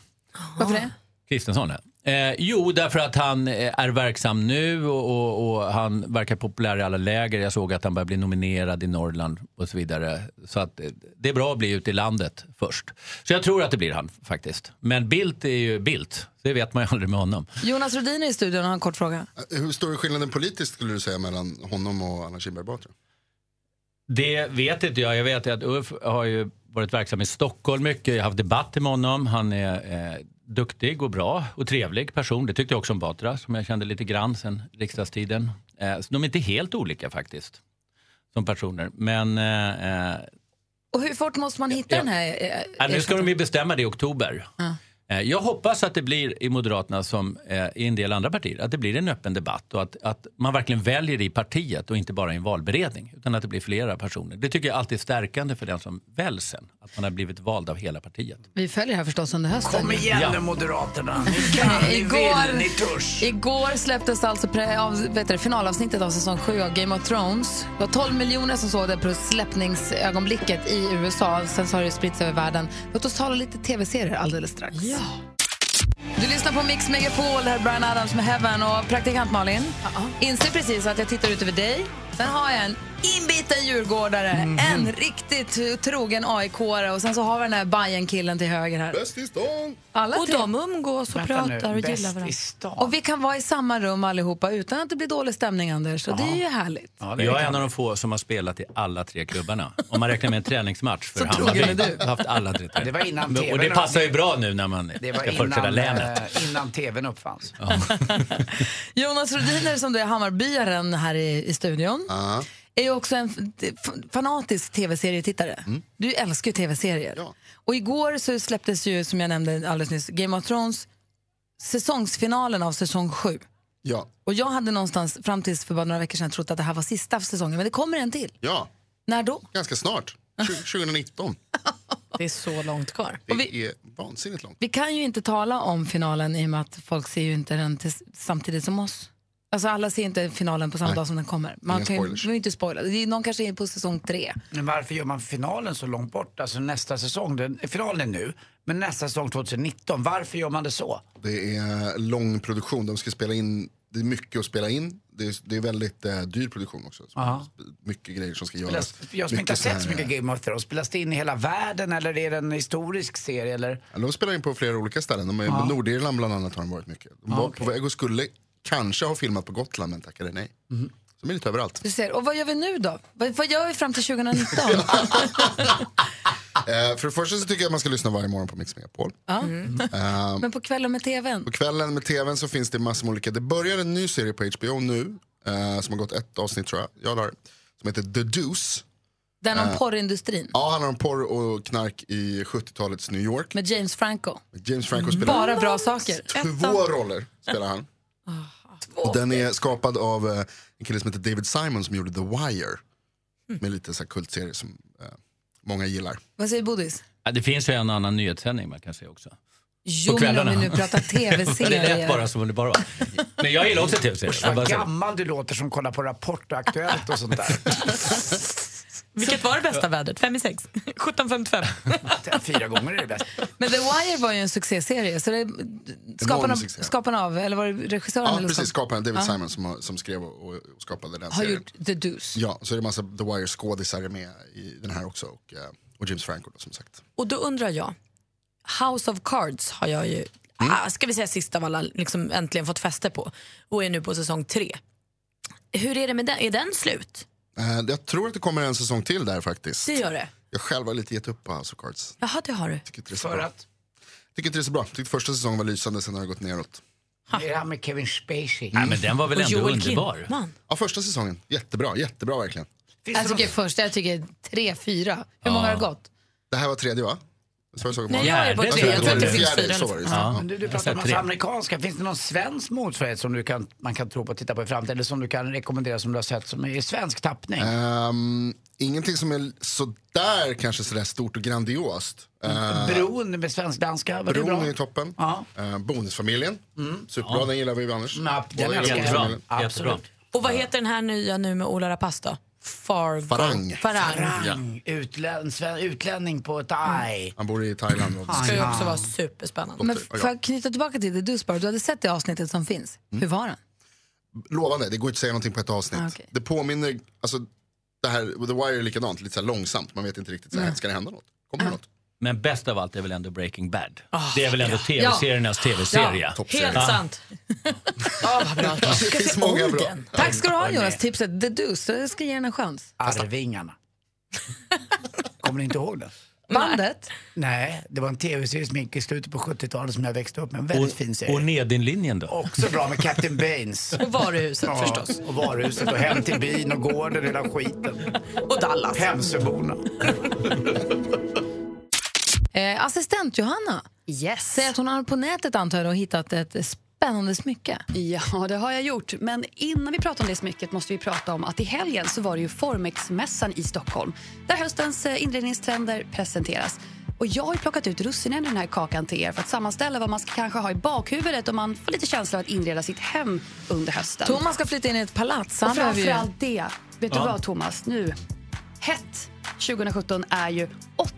[SPEAKER 1] Varför det?
[SPEAKER 9] Kristensson. ja. Eh, jo, därför att han eh, är verksam nu och, och, och han verkar populär i alla läger. Jag såg att han börjar bli nominerad i Norrland och så vidare. Så att eh, det är bra att bli ute i landet först. Så jag tror att det blir han faktiskt. Men Bildt är ju Bildt. Det vet man ju aldrig med honom.
[SPEAKER 1] Jonas Rhodin är i studion och har en kort fråga.
[SPEAKER 6] Hur stor är skillnaden politiskt skulle du säga mellan honom och Anna Kinberg Batra?
[SPEAKER 9] Det vet inte jag. Jag vet att Ulf har ju varit verksam i Stockholm mycket. Jag har haft debatter med honom. Han är eh, duktig och bra och trevlig person. Det tyckte jag också om Batra som jag kände lite grann sen riksdagstiden. Eh, så de är inte helt olika faktiskt som personer. Men eh, eh,
[SPEAKER 1] Och hur fort måste man hitta
[SPEAKER 9] Ja.
[SPEAKER 1] den här? eh,
[SPEAKER 9] äh, nu ska
[SPEAKER 1] ersättaren?
[SPEAKER 9] de ju bestämma det i oktober.
[SPEAKER 1] Ja.
[SPEAKER 9] Eh, Jag hoppas att det blir i Moderaterna som eh, i en del andra partier, att det blir en öppen debatt och att, att man verkligen väljer i partiet och inte bara i en valberedning. Utan att det blir flera personer. Det tycker jag alltid är stärkande för den som väljs sen. Att man har blivit vald av hela partiet.
[SPEAKER 1] Vi följer det här förstås under hösten.
[SPEAKER 2] Kom igen
[SPEAKER 9] Ja.
[SPEAKER 2] nu Moderaterna. Ni kan, ni vill, ni törs.
[SPEAKER 1] igår släpptes alltså pre, av, vet du, finalavsnittet av säsong 7 av Game of Thrones. Det var 12 miljoner som såg det plus släppningsögonblicket i USA. Sen så har det spritts över världen. Låt oss tala lite tv-serier alldeles strax. Du lyssnar på Mix Megapol, här är Brian Adams med Heaven och praktikant Malin. Inser precis att jag tittar ut över dig. Sen har jag en inbiten djurgårdare,
[SPEAKER 2] Mhm.
[SPEAKER 1] en riktigt trogen AIK-are och sen så har vi den här Bajen-killen till höger här.
[SPEAKER 6] Bäst i stan!
[SPEAKER 1] Alla
[SPEAKER 4] Och
[SPEAKER 1] tre.
[SPEAKER 4] de umgås och
[SPEAKER 1] Vänta nu,
[SPEAKER 4] pratar och
[SPEAKER 1] bäst
[SPEAKER 4] gillar
[SPEAKER 1] i
[SPEAKER 4] varandra.
[SPEAKER 1] Och vi kan vara i samma rum allihopa utan att det blir dålig stämning, Anders. Och det är ju härligt.
[SPEAKER 9] jag är en av de få som har spelat i alla tre klubbarna. Om man räknar med en träningsmatch för
[SPEAKER 1] Så
[SPEAKER 9] Hammarby.
[SPEAKER 1] trogen är du.
[SPEAKER 9] Jag har haft alla tre
[SPEAKER 2] Det var innan
[SPEAKER 9] Men- Och det
[SPEAKER 2] TV:n
[SPEAKER 9] passar ju bra nu när man
[SPEAKER 2] Det var
[SPEAKER 9] ska företräda
[SPEAKER 2] innan,
[SPEAKER 9] länet.
[SPEAKER 2] eh, innan tvn uppfanns.
[SPEAKER 1] Jonas Rhodiner, som du är Hammarbyaren här i, i studion, är ju också en f- f- fanatisk tv-serietittare. Du älskar ju tv-serier. Och igår så släpptes ju, som jag nämnde alldeles nyss, Game of Thrones säsongsfinalen av säsong 7.
[SPEAKER 6] Ja.
[SPEAKER 1] Och jag hade någonstans fram tills för bara några veckor sedan trott att det här var sista säsongen, men det kommer en till.
[SPEAKER 6] Ja.
[SPEAKER 1] När då?
[SPEAKER 6] Ganska snart. Tju- 2019.
[SPEAKER 4] Det är så långt kvar.
[SPEAKER 6] Det är vansinnigt långt.
[SPEAKER 1] Vi kan ju inte tala om finalen i och med att folk ser ju inte den tills, samtidigt som oss. Alltså alla ser inte finalen på samma
[SPEAKER 2] Nej.
[SPEAKER 1] dag som den kommer. Man
[SPEAKER 2] Inga
[SPEAKER 1] kan ju,
[SPEAKER 2] spoilers.
[SPEAKER 1] vi är inte spoila. Det är Någon kanske är på säsong tre.
[SPEAKER 2] Men varför gör man finalen så långt bort? Alltså nästa säsong, den, finalen är nu, men nästa säsong 2019. Varför gör man det så?
[SPEAKER 6] Det är lång produktion. De ska spela in, det är mycket att spela in. Det är, det är väldigt eh, dyr produktion också.
[SPEAKER 2] Aha.
[SPEAKER 6] Mycket grejer som ska
[SPEAKER 2] Spelas,
[SPEAKER 6] göras.
[SPEAKER 2] jag som inte har
[SPEAKER 6] så
[SPEAKER 2] sett så
[SPEAKER 6] här-
[SPEAKER 2] mycket Game of Thrones, spelas det in i hela världen eller är det en historisk serie? Eller?
[SPEAKER 6] Ja, De spelar in på flera olika ställen. De är,
[SPEAKER 2] Ja.
[SPEAKER 6] Nordirland bland annat har de varit mycket. De
[SPEAKER 2] Ja,
[SPEAKER 6] var
[SPEAKER 2] okej.
[SPEAKER 6] på väg och skulle kanske ha filmat på Gotland men tackade nej.
[SPEAKER 2] Mhm.
[SPEAKER 6] Så de är lite överallt.
[SPEAKER 1] Du ser. Och vad gör vi nu då? Vad, vad gör vi fram till 2019?
[SPEAKER 6] Eh, för det första så tycker jag att man ska lyssna varje morgon på Mix Megapol.
[SPEAKER 1] ja.
[SPEAKER 6] Eh,
[SPEAKER 1] Men på kvällen med tvn?
[SPEAKER 6] På kvällen med tvn så finns det massor med olika. Det börjar en ny serie på HBO nu. Eh, som har gått ett avsnitt tror jag. Jag la det. Som heter The Deuce.
[SPEAKER 1] Den om
[SPEAKER 2] Äh.
[SPEAKER 6] Eh,
[SPEAKER 1] porrindustrin
[SPEAKER 6] Ja, handlar om porr och knark i 70-talets New York.
[SPEAKER 1] med James Franco.
[SPEAKER 6] James Franco spelar
[SPEAKER 1] Mm. Bara Ah, bra saker.
[SPEAKER 6] två roller. Spelar han. Och den är skapad av eh, en kille som heter David Simon som gjorde The Wire.
[SPEAKER 1] Mm.
[SPEAKER 6] Med lite så här kultserie som eh, många gillar.
[SPEAKER 1] Vad säger Bodis?
[SPEAKER 9] Ja, det finns ju en annan nyhetssändning man kan se också.
[SPEAKER 1] Jo, men om
[SPEAKER 9] kvällarna.
[SPEAKER 1] vi nu pratar
[SPEAKER 9] Ja, det
[SPEAKER 1] tv-serier.
[SPEAKER 9] lät bara som om det bara var. Men jag gillar också tv-serier.
[SPEAKER 2] Usch,
[SPEAKER 9] Jag bara
[SPEAKER 2] vad
[SPEAKER 9] säger.
[SPEAKER 2] gammal du låter som kollar på Rapport och Aktuellt och sånt där.
[SPEAKER 4] Vilket var det bästa vädret? 5 i 6? 17.55?
[SPEAKER 2] Fyra gånger är det bäst.
[SPEAKER 1] Men The Wire var ju en succéserie. Så det, skaparna,
[SPEAKER 6] succé.
[SPEAKER 1] skaparna av, eller var det regissören?
[SPEAKER 6] Ja,
[SPEAKER 1] eller
[SPEAKER 6] precis.
[SPEAKER 1] skap-
[SPEAKER 6] Skaparen David
[SPEAKER 1] liksom- Ja.
[SPEAKER 6] Simon som, har- som skrev och, och skapade den
[SPEAKER 1] Har
[SPEAKER 6] serien.
[SPEAKER 1] gjort The Deuce.
[SPEAKER 6] Ja, så är det massa The Wire-skådisar med i den här också. Och, eh, och James Franco då, som sagt.
[SPEAKER 4] Och då undrar jag, House of Cards har jag ju, ah, ska vi säga sist av alla, liksom äntligen fått fäste på och är nu på säsong tre. Hur är det med den? Är den slut?
[SPEAKER 6] Eh, jag tror att det kommer en säsong till där faktiskt.
[SPEAKER 4] Det gör det.
[SPEAKER 6] Jag själv har lite gett upp på House of Cards.
[SPEAKER 4] Jaha, det har du.
[SPEAKER 6] Tycker inte det är så bra. Tycker inte det är så bra. Tyckte första säsongen var lysande, sen har det gått neråt.
[SPEAKER 2] Det är det här med Kevin Spacey.
[SPEAKER 6] Nej, men den var väl Och ändå Joel underbar? Kinnaman.
[SPEAKER 4] Man.
[SPEAKER 6] Ja, första säsongen. Jättebra, jättebra verkligen.
[SPEAKER 1] Jag tycker första, jag tycker tre, fyra. Hur många har det gått?
[SPEAKER 6] Det här var tredje va? Så jag såg
[SPEAKER 4] Nej, jag är på
[SPEAKER 6] Fjärde.
[SPEAKER 4] tre. Jag tror att det
[SPEAKER 6] Fjärde,
[SPEAKER 4] finns fyra liksom.
[SPEAKER 6] så var det, just det. Ja.
[SPEAKER 2] Men Du, du pratar om massa amerikanska. Finns det någon svensk motsvarighet som du kan, man kan tro på och titta på i framtiden? Eller som du kan rekommendera som du har sett som är i svensk tappning?
[SPEAKER 6] Ehm, ingenting som är sådär kanske sådär stort och grandiost.
[SPEAKER 4] Mm.
[SPEAKER 6] Uh,
[SPEAKER 2] Bron med svensk-danska, var det
[SPEAKER 6] Bron
[SPEAKER 2] bra?
[SPEAKER 6] är ju toppen. Eh, bonusfamiljen.
[SPEAKER 4] Mm.
[SPEAKER 6] Superbra,
[SPEAKER 2] Ja.
[SPEAKER 6] den gillar vi ju annars.
[SPEAKER 2] Ja, den
[SPEAKER 6] Båda
[SPEAKER 2] älskar jag.
[SPEAKER 6] Bonusfamiljen.
[SPEAKER 2] Jättebra. Absolut.
[SPEAKER 4] Och vad heter den här nya nu med Ola Rapace då? Fargo.
[SPEAKER 6] Farang.
[SPEAKER 4] Farang.
[SPEAKER 2] Farang. Utlän, Mm, sven, utlänning på Thai.
[SPEAKER 6] Han bor i Thailand.
[SPEAKER 4] Ska ju också vara superspännande.
[SPEAKER 1] Men för att knyta tillbaka till det du sparade, du hade sett det avsnittet som finns. Hur var den?
[SPEAKER 6] Lovande, det går inte att säga någonting på ett avsnitt. Det påminner, alltså det här, The Wire är likadant, lite så här långsamt. Man vet inte riktigt, så här, ska det hända något? Kommer det något?
[SPEAKER 18] Men bäst av allt är väl ändå Breaking Bad.
[SPEAKER 19] Ah,
[SPEAKER 18] det är väl ändå tv-seriernas
[SPEAKER 1] Ja.
[SPEAKER 18] tv-serie.
[SPEAKER 1] Ja, helt sant. Ja, vad bra.
[SPEAKER 18] Det
[SPEAKER 1] Ska
[SPEAKER 18] finns
[SPEAKER 1] se
[SPEAKER 18] många
[SPEAKER 1] om
[SPEAKER 18] bra.
[SPEAKER 1] den. Tack ska du ha
[SPEAKER 2] Nej.
[SPEAKER 1] Jonas, tipset The Deuce. Jag ska ge den en chans.
[SPEAKER 2] Arvingarna. Kommer ni inte ihåg det?
[SPEAKER 1] Bandet?
[SPEAKER 2] Nej, det var en tv-serie som gick i slutet på 70-talet som jag växte upp med. En väldigt fin serie.
[SPEAKER 18] Och Nedinlinjen då?
[SPEAKER 2] Också bra med Captain Baines.
[SPEAKER 4] Och varuhuset förstås.
[SPEAKER 2] Och varuhuset och hem till byn och gården och hela skiten.
[SPEAKER 4] Och Dallas.
[SPEAKER 2] Hemsöborna.
[SPEAKER 1] Eh, assistent Johanna
[SPEAKER 19] yes.
[SPEAKER 1] säger att hon har på nätet antar jag och hittat ett spännande smycke.
[SPEAKER 19] Ja, det har jag gjort. Men innan vi pratar om det smycket måste vi prata om att i helgen så var det ju Formex-mässan i Stockholm där höstens eh, inredningstrender presenteras. Och jag har ju plockat ut russinen i den här kakan till er för att sammanställa vad man ska kanske ha i bakhuvudet om man får lite känsla av att inreda sitt hem under hösten.
[SPEAKER 1] Thomas ska flytta in i ett palats.
[SPEAKER 19] Och
[SPEAKER 1] Han behöver ju...
[SPEAKER 19] framförallt det. Vet
[SPEAKER 1] Ja.
[SPEAKER 19] du vad, Thomas? Nu. Hett 2017 är ju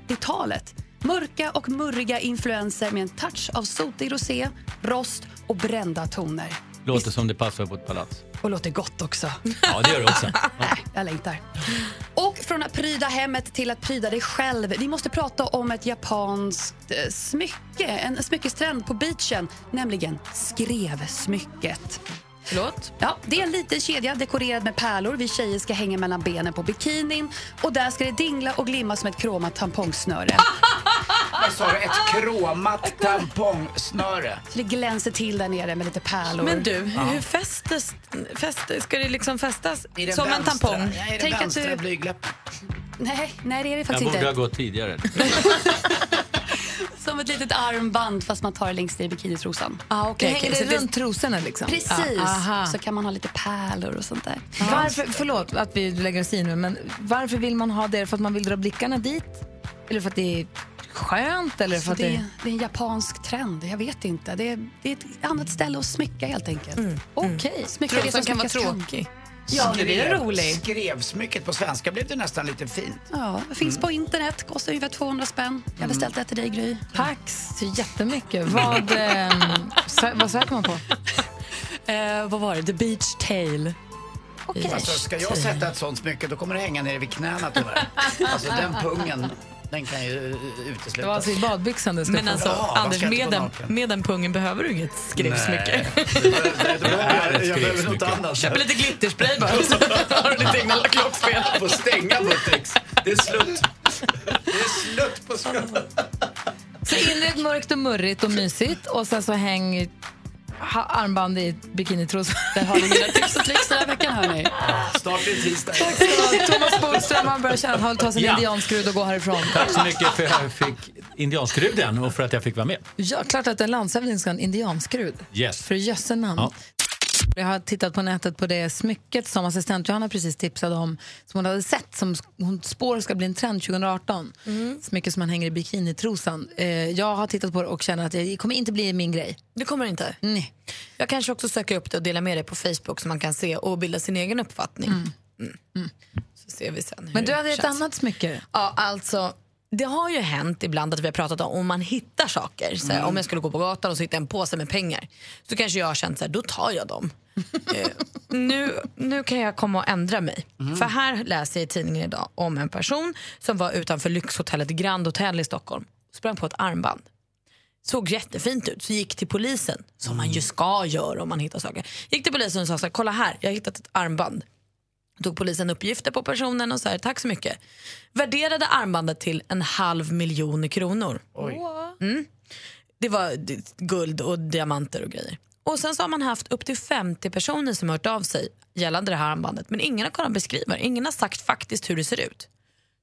[SPEAKER 19] 80-talet. Mörka och murriga influenser med en touch av sotig rosé, rost och brända toner.
[SPEAKER 18] Låter som det passar på ett palats.
[SPEAKER 19] Och låter gott också.
[SPEAKER 18] Ja, det gör det också.
[SPEAKER 19] Jag längtar. Och från att pryda hemmet till att pryda dig själv. Vi måste prata om ett japanskt eh, smycke, en smyckestrend på beachen, nämligen skrevsmycket.
[SPEAKER 1] Förlåt?
[SPEAKER 19] Ja, det är en liten kedja dekorerad med pärlor. Vi tjejer ska hänga mellan benen på bikinin och där ska det dingla och glimma som ett
[SPEAKER 1] Ah,
[SPEAKER 19] kromat tampongsnöre.
[SPEAKER 2] Vad sa du? Ett kromat tampongsnöre.
[SPEAKER 19] Så det glänser till där nere med lite pärlor.
[SPEAKER 4] Men du, hur, hur fästes, fäst, ska det liksom fästas
[SPEAKER 19] I den
[SPEAKER 4] som
[SPEAKER 19] vänstra.
[SPEAKER 4] en tampong?
[SPEAKER 19] Ja, i den vänstra
[SPEAKER 2] blygdläppen.
[SPEAKER 19] Nej, nej, det är det
[SPEAKER 18] Jag
[SPEAKER 19] faktiskt
[SPEAKER 18] borde ha
[SPEAKER 19] inte.
[SPEAKER 18] gått tidigare.
[SPEAKER 19] Som ett litet armband fast man tar det längst ner i bikinitrosan.
[SPEAKER 1] Ah, okay,
[SPEAKER 19] Det hänger
[SPEAKER 1] okay.
[SPEAKER 19] det
[SPEAKER 1] Så det-
[SPEAKER 19] runt
[SPEAKER 1] trosorna liksom?
[SPEAKER 19] Precis,
[SPEAKER 1] Ja, aha.
[SPEAKER 19] så kan man ha lite pärlor och sånt där.
[SPEAKER 1] Varför, förlåt att vi lägger oss i nu, men varför vill man ha det? För att man vill dra blickarna dit? Eller för att det är skönt? Eller för
[SPEAKER 19] Så
[SPEAKER 1] att
[SPEAKER 19] det,
[SPEAKER 1] det...
[SPEAKER 19] är, det är en japansk trend, jag vet inte. Det är, det är ett annat ställe att smycka helt enkelt. Okej.
[SPEAKER 1] mm.
[SPEAKER 19] Smycka det som
[SPEAKER 1] Trosan kan vara
[SPEAKER 19] smyckas
[SPEAKER 1] tråkig.
[SPEAKER 19] Ja, det blir
[SPEAKER 2] Skrev-
[SPEAKER 19] rolig.
[SPEAKER 2] Skrevsmycket på svenska blev det nästan lite fint.
[SPEAKER 19] Ja, det
[SPEAKER 18] Mm.
[SPEAKER 19] finns på internet, kostar ungefär 200 spänn. Jag har beställt det till dig Gry.
[SPEAKER 1] Mm. Tack så jättemycket. Vad, ehm, sö- vad söker man på?
[SPEAKER 19] Eh, vad var det? The Beach Tale.
[SPEAKER 1] Okej.
[SPEAKER 2] Alltså, ska jag sätta ett sånt smycke då kommer det hänga nere vid knäna tyvärr. Alltså den pungen, den kan ju eh, uteslutas.
[SPEAKER 1] Det var alltså i badbyxan det skulle
[SPEAKER 4] Men alltså,
[SPEAKER 2] Ja, man
[SPEAKER 4] Anders,
[SPEAKER 2] ska inte
[SPEAKER 4] med
[SPEAKER 2] gå
[SPEAKER 4] den,
[SPEAKER 2] naken.
[SPEAKER 4] med den pungen behöver du inget skrevsmycke.
[SPEAKER 2] Nej. Jag, jag behöver något annat.
[SPEAKER 4] Köp lite glitterspray bara, så har du ditt egna klockspel.
[SPEAKER 2] får stänga Buttex. Det är slut. Det är slut på skratt.
[SPEAKER 1] Så inred mörkt och murrigt och mysigt och sen så häng ha, armband i bikinitrosa. Där har
[SPEAKER 19] ni mina tips och tricks den här veckan hörni.
[SPEAKER 2] Snart är det tisdag.
[SPEAKER 1] Tack ska du ha. Thomas Bodström, han börjar känna att han vill ta sin
[SPEAKER 18] Ja.
[SPEAKER 1] indianskrud och gå härifrån.
[SPEAKER 18] Tack så mycket för att jag fick indianskruden och för att jag fick vara med.
[SPEAKER 1] Ja, klart att en landshövding ska ha en indianskrud.
[SPEAKER 18] Yes.
[SPEAKER 1] För jösse namn.
[SPEAKER 18] Ja.
[SPEAKER 1] Jag har tittat på nätet på det smycket som assistent Johanna precis tipsade om som hon hade sett som sk- hon spår ska bli en trend 2018. Smycket som man hänger i bikinitrosan. Eh, jag har tittat på det och känner att det kommer inte bli min grej.
[SPEAKER 4] Det kommer inte?
[SPEAKER 1] Nej.
[SPEAKER 4] Jag kanske också söker upp det och delar med det på Facebook så man kan se och bilda sin egen uppfattning. Mm. Så ser vi sen hur
[SPEAKER 1] Men du hade
[SPEAKER 4] det
[SPEAKER 1] ett
[SPEAKER 4] känns.
[SPEAKER 1] annat smycke.
[SPEAKER 4] Ja, alltså. Det har ju hänt ibland att vi har pratat om om man hittar saker. Så här,
[SPEAKER 1] Mm.
[SPEAKER 4] Om jag skulle gå på gatan och så hittar jag en påse med pengar så kanske jag har känt så här, då tar jag dem. Eh, nu, nu kan jag komma och ändra mig. För här läser jag i tidningen idag om en person som var utanför lyxhotellet Grand Hotel i Stockholm och sprang på ett armband. Såg jättefint ut, så gick till polisen, som man ju ska göra om man hittar saker. Gick till polisen och sa så här, kolla här, jag har hittat ett armband. Tog polisen uppgifter på personen och så här, tack så mycket. Värderade armbandet till en halv miljon kronor. Mm. Det var d- guld och diamanter och grejer. Och sen så har man haft upp till 50 personer som har hört av sig gällande det här armbandet. Men ingen har kunnat beskriva det. Ingen har sagt faktiskt hur det ser ut.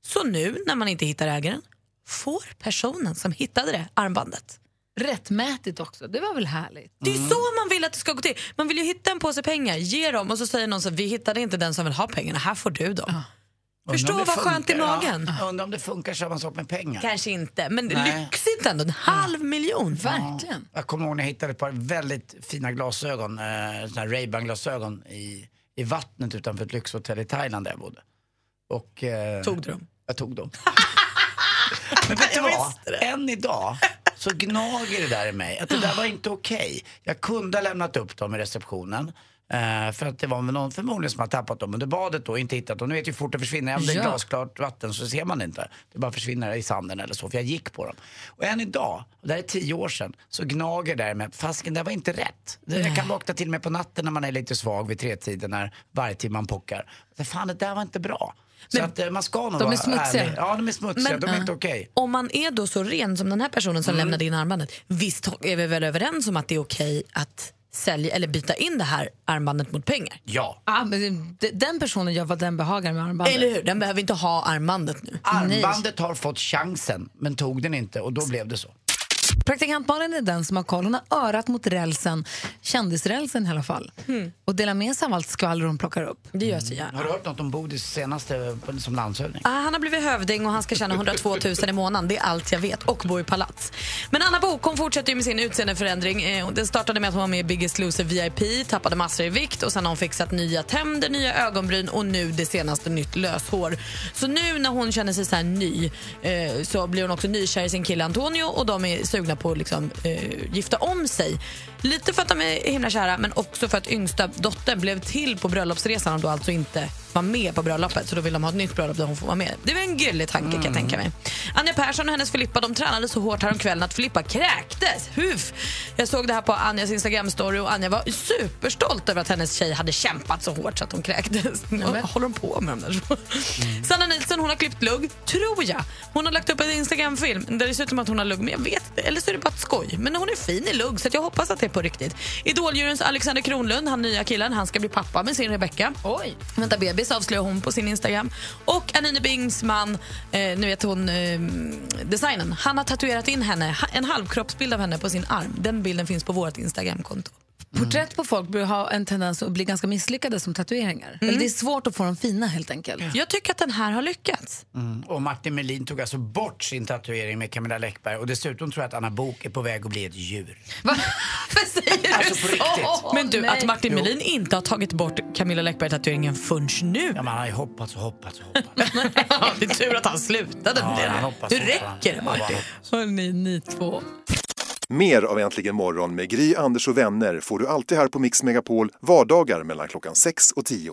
[SPEAKER 4] Så nu när man inte hittar ägaren får personen som hittade det armbandet.
[SPEAKER 1] Rättmätigt också. Det var väl härligt?
[SPEAKER 4] Det är
[SPEAKER 2] Mm.
[SPEAKER 4] ju så man vill att det ska gå till. Man vill ju hitta en påse pengar, ge dem och så säger någon så vi hittade inte den som vill ha pengarna, här får du dem. Förstå
[SPEAKER 2] Ah. Undrar om
[SPEAKER 4] vad
[SPEAKER 2] det
[SPEAKER 4] skönt i
[SPEAKER 2] funkar,
[SPEAKER 4] magen.
[SPEAKER 2] Ja. Undrar om det funkar samma sak med pengar.
[SPEAKER 4] Kanske inte, men
[SPEAKER 2] Nej.
[SPEAKER 4] lyxigt ändå. En halv miljon. Verkligen.
[SPEAKER 2] Jag kommer ihåg när jag hittade ett par väldigt fina glasögon, eh, såna här Ray-Ban glasögon i, i vattnet utanför ett lyxhotell i Thailand där jag bodde. Och, eh,
[SPEAKER 4] Tog du dem?
[SPEAKER 2] Jag tog dem. Men vet du vad? Än idag så gnager det där i mig. Att det där var inte okej. Jag kunde ha lämnat upp dem i receptionen. eh, för att det var väl någon förmodligen som har tappat dem under badet då och inte hittat dem. Nu vet ju hur fort det försvinner. Om det är
[SPEAKER 20] Ja.
[SPEAKER 2] glasklart vatten så ser man det inte. Det bara försvinner i sanden eller så. För jag gick på dem. Och än idag, och det här är tio år sedan, så gnager det där med fasken det där var inte rätt. Det, jag kan vakna till mig på natten när man är lite svag vid tretiden när varje timme man pockar. Fan det där var inte bra. Så att eh, man ska nog
[SPEAKER 4] De är
[SPEAKER 2] vara
[SPEAKER 4] smutsiga.
[SPEAKER 2] ärlig. Ja, de är smutsiga.
[SPEAKER 4] Men-
[SPEAKER 2] de är inte
[SPEAKER 4] Ja.
[SPEAKER 2] okej.
[SPEAKER 4] Om man är då så ren som den här personen som
[SPEAKER 2] Mm.
[SPEAKER 4] lämnade in armbandet, visst är vi väl överens om att det är okej att sälja eller byta in det här armbandet mot pengar?
[SPEAKER 2] Ja.
[SPEAKER 1] Ah, men det- den personen gör vad den behagar med armbandet.
[SPEAKER 4] Eller hur? Den behöver inte ha armbandet nu.
[SPEAKER 2] Armbandet har fått chansen, men tog den inte och då blev det så.
[SPEAKER 1] Praktikant Malin är den som har koll. Hon har örat mot rälsen, kändisrälsen i alla fall.
[SPEAKER 4] Hmm.
[SPEAKER 1] Och delar med sig av allt skvaller hon plockar upp.
[SPEAKER 4] Det gör så gärna.
[SPEAKER 2] Har du hört något om Bodis senaste eh, som landshövding?
[SPEAKER 4] Ah, han har blivit hövding och han ska tjäna 102 000 i månaden. Det är allt jag vet. Och bor i palats. Men Anna Bok hon fortsätter ju med sin utseendeförändring. Eh, och Det startade med att hon var med i Biggest Loser VIP, tappade massor i vikt och sen har hon fixat nya tänder, nya ögonbryn och nu det senaste nytt löshår. Så nu när hon känner sig så här ny eh, så blir hon också nykär i sin kille Antonio och de är sugna på att liksom, eh, gifta om sig. Lite för att de är himla kära men också för att yngsta dottern blev till på bröllopsresan och då alltså inte var med på bröllopet. Så då vill de ha ett nytt bröllop där hon får vara med. Det var en gullig tanke kan jag tänka mig. Anja Persson och hennes Filippa de tränade så hårt häromkvällen att Filippa kräktes. Huf! Jag såg det här på Anjas Instagram-story och Anja var superstolt över att hennes tjej hade kämpat så hårt så att hon kräktes. Vad håller de på med de där? Sanna Nilsson hon har klippt lugg, tror jag. Hon har lagt upp en Instagram-film där det ser ut som att hon har lugg, men jag vet inte. Eller så är det bara ett skoj. Men hon är fin i lugg, så att jag hoppas att det är på riktigt. Idoljuryns Alexander Kronlund, han nya killen, han ska bli pappa med sin Rebecca. Oj! Vänta bebis avslöjar hon på sin Instagram. Och Anine Bings man, eh, nu vet hon eh, designen, han har tatuerat in henne, ha- en halvkroppsbild av henne på sin arm. Den bilden finns på vårt Instagramkonto.
[SPEAKER 1] Porträtt på folk brukar ha en tendens att bli ganska misslyckade som tatueringar.
[SPEAKER 4] Hmm.
[SPEAKER 1] Eller det är svårt att få dem fina helt enkelt.
[SPEAKER 4] Jag tycker att den här har lyckats.
[SPEAKER 2] Och Martin Melin tog alltså bort sin tatuering med Camilla Läckberg och dessutom tror jag att Anna Bok är på väg att bli ett djur.
[SPEAKER 4] alltså på
[SPEAKER 2] riktigt.
[SPEAKER 4] Men du,
[SPEAKER 2] Nej.
[SPEAKER 4] att Martin
[SPEAKER 2] Jo.
[SPEAKER 4] Melin inte har tagit bort Camilla Läckberg-tatueringen förrän nu. Ja,
[SPEAKER 2] man har ju hoppats och hoppats och
[SPEAKER 4] hoppats. det är tur att han slutade med
[SPEAKER 2] Ja,
[SPEAKER 4] det.
[SPEAKER 2] jag hoppas
[SPEAKER 4] Nu
[SPEAKER 2] också.
[SPEAKER 4] räcker det, Martin.
[SPEAKER 1] Hörni, ni två.
[SPEAKER 8] Mer av Äntligen morgon med Gry, Anders och vänner får du alltid här på Mix Megapol vardagar mellan klockan 6 och 10.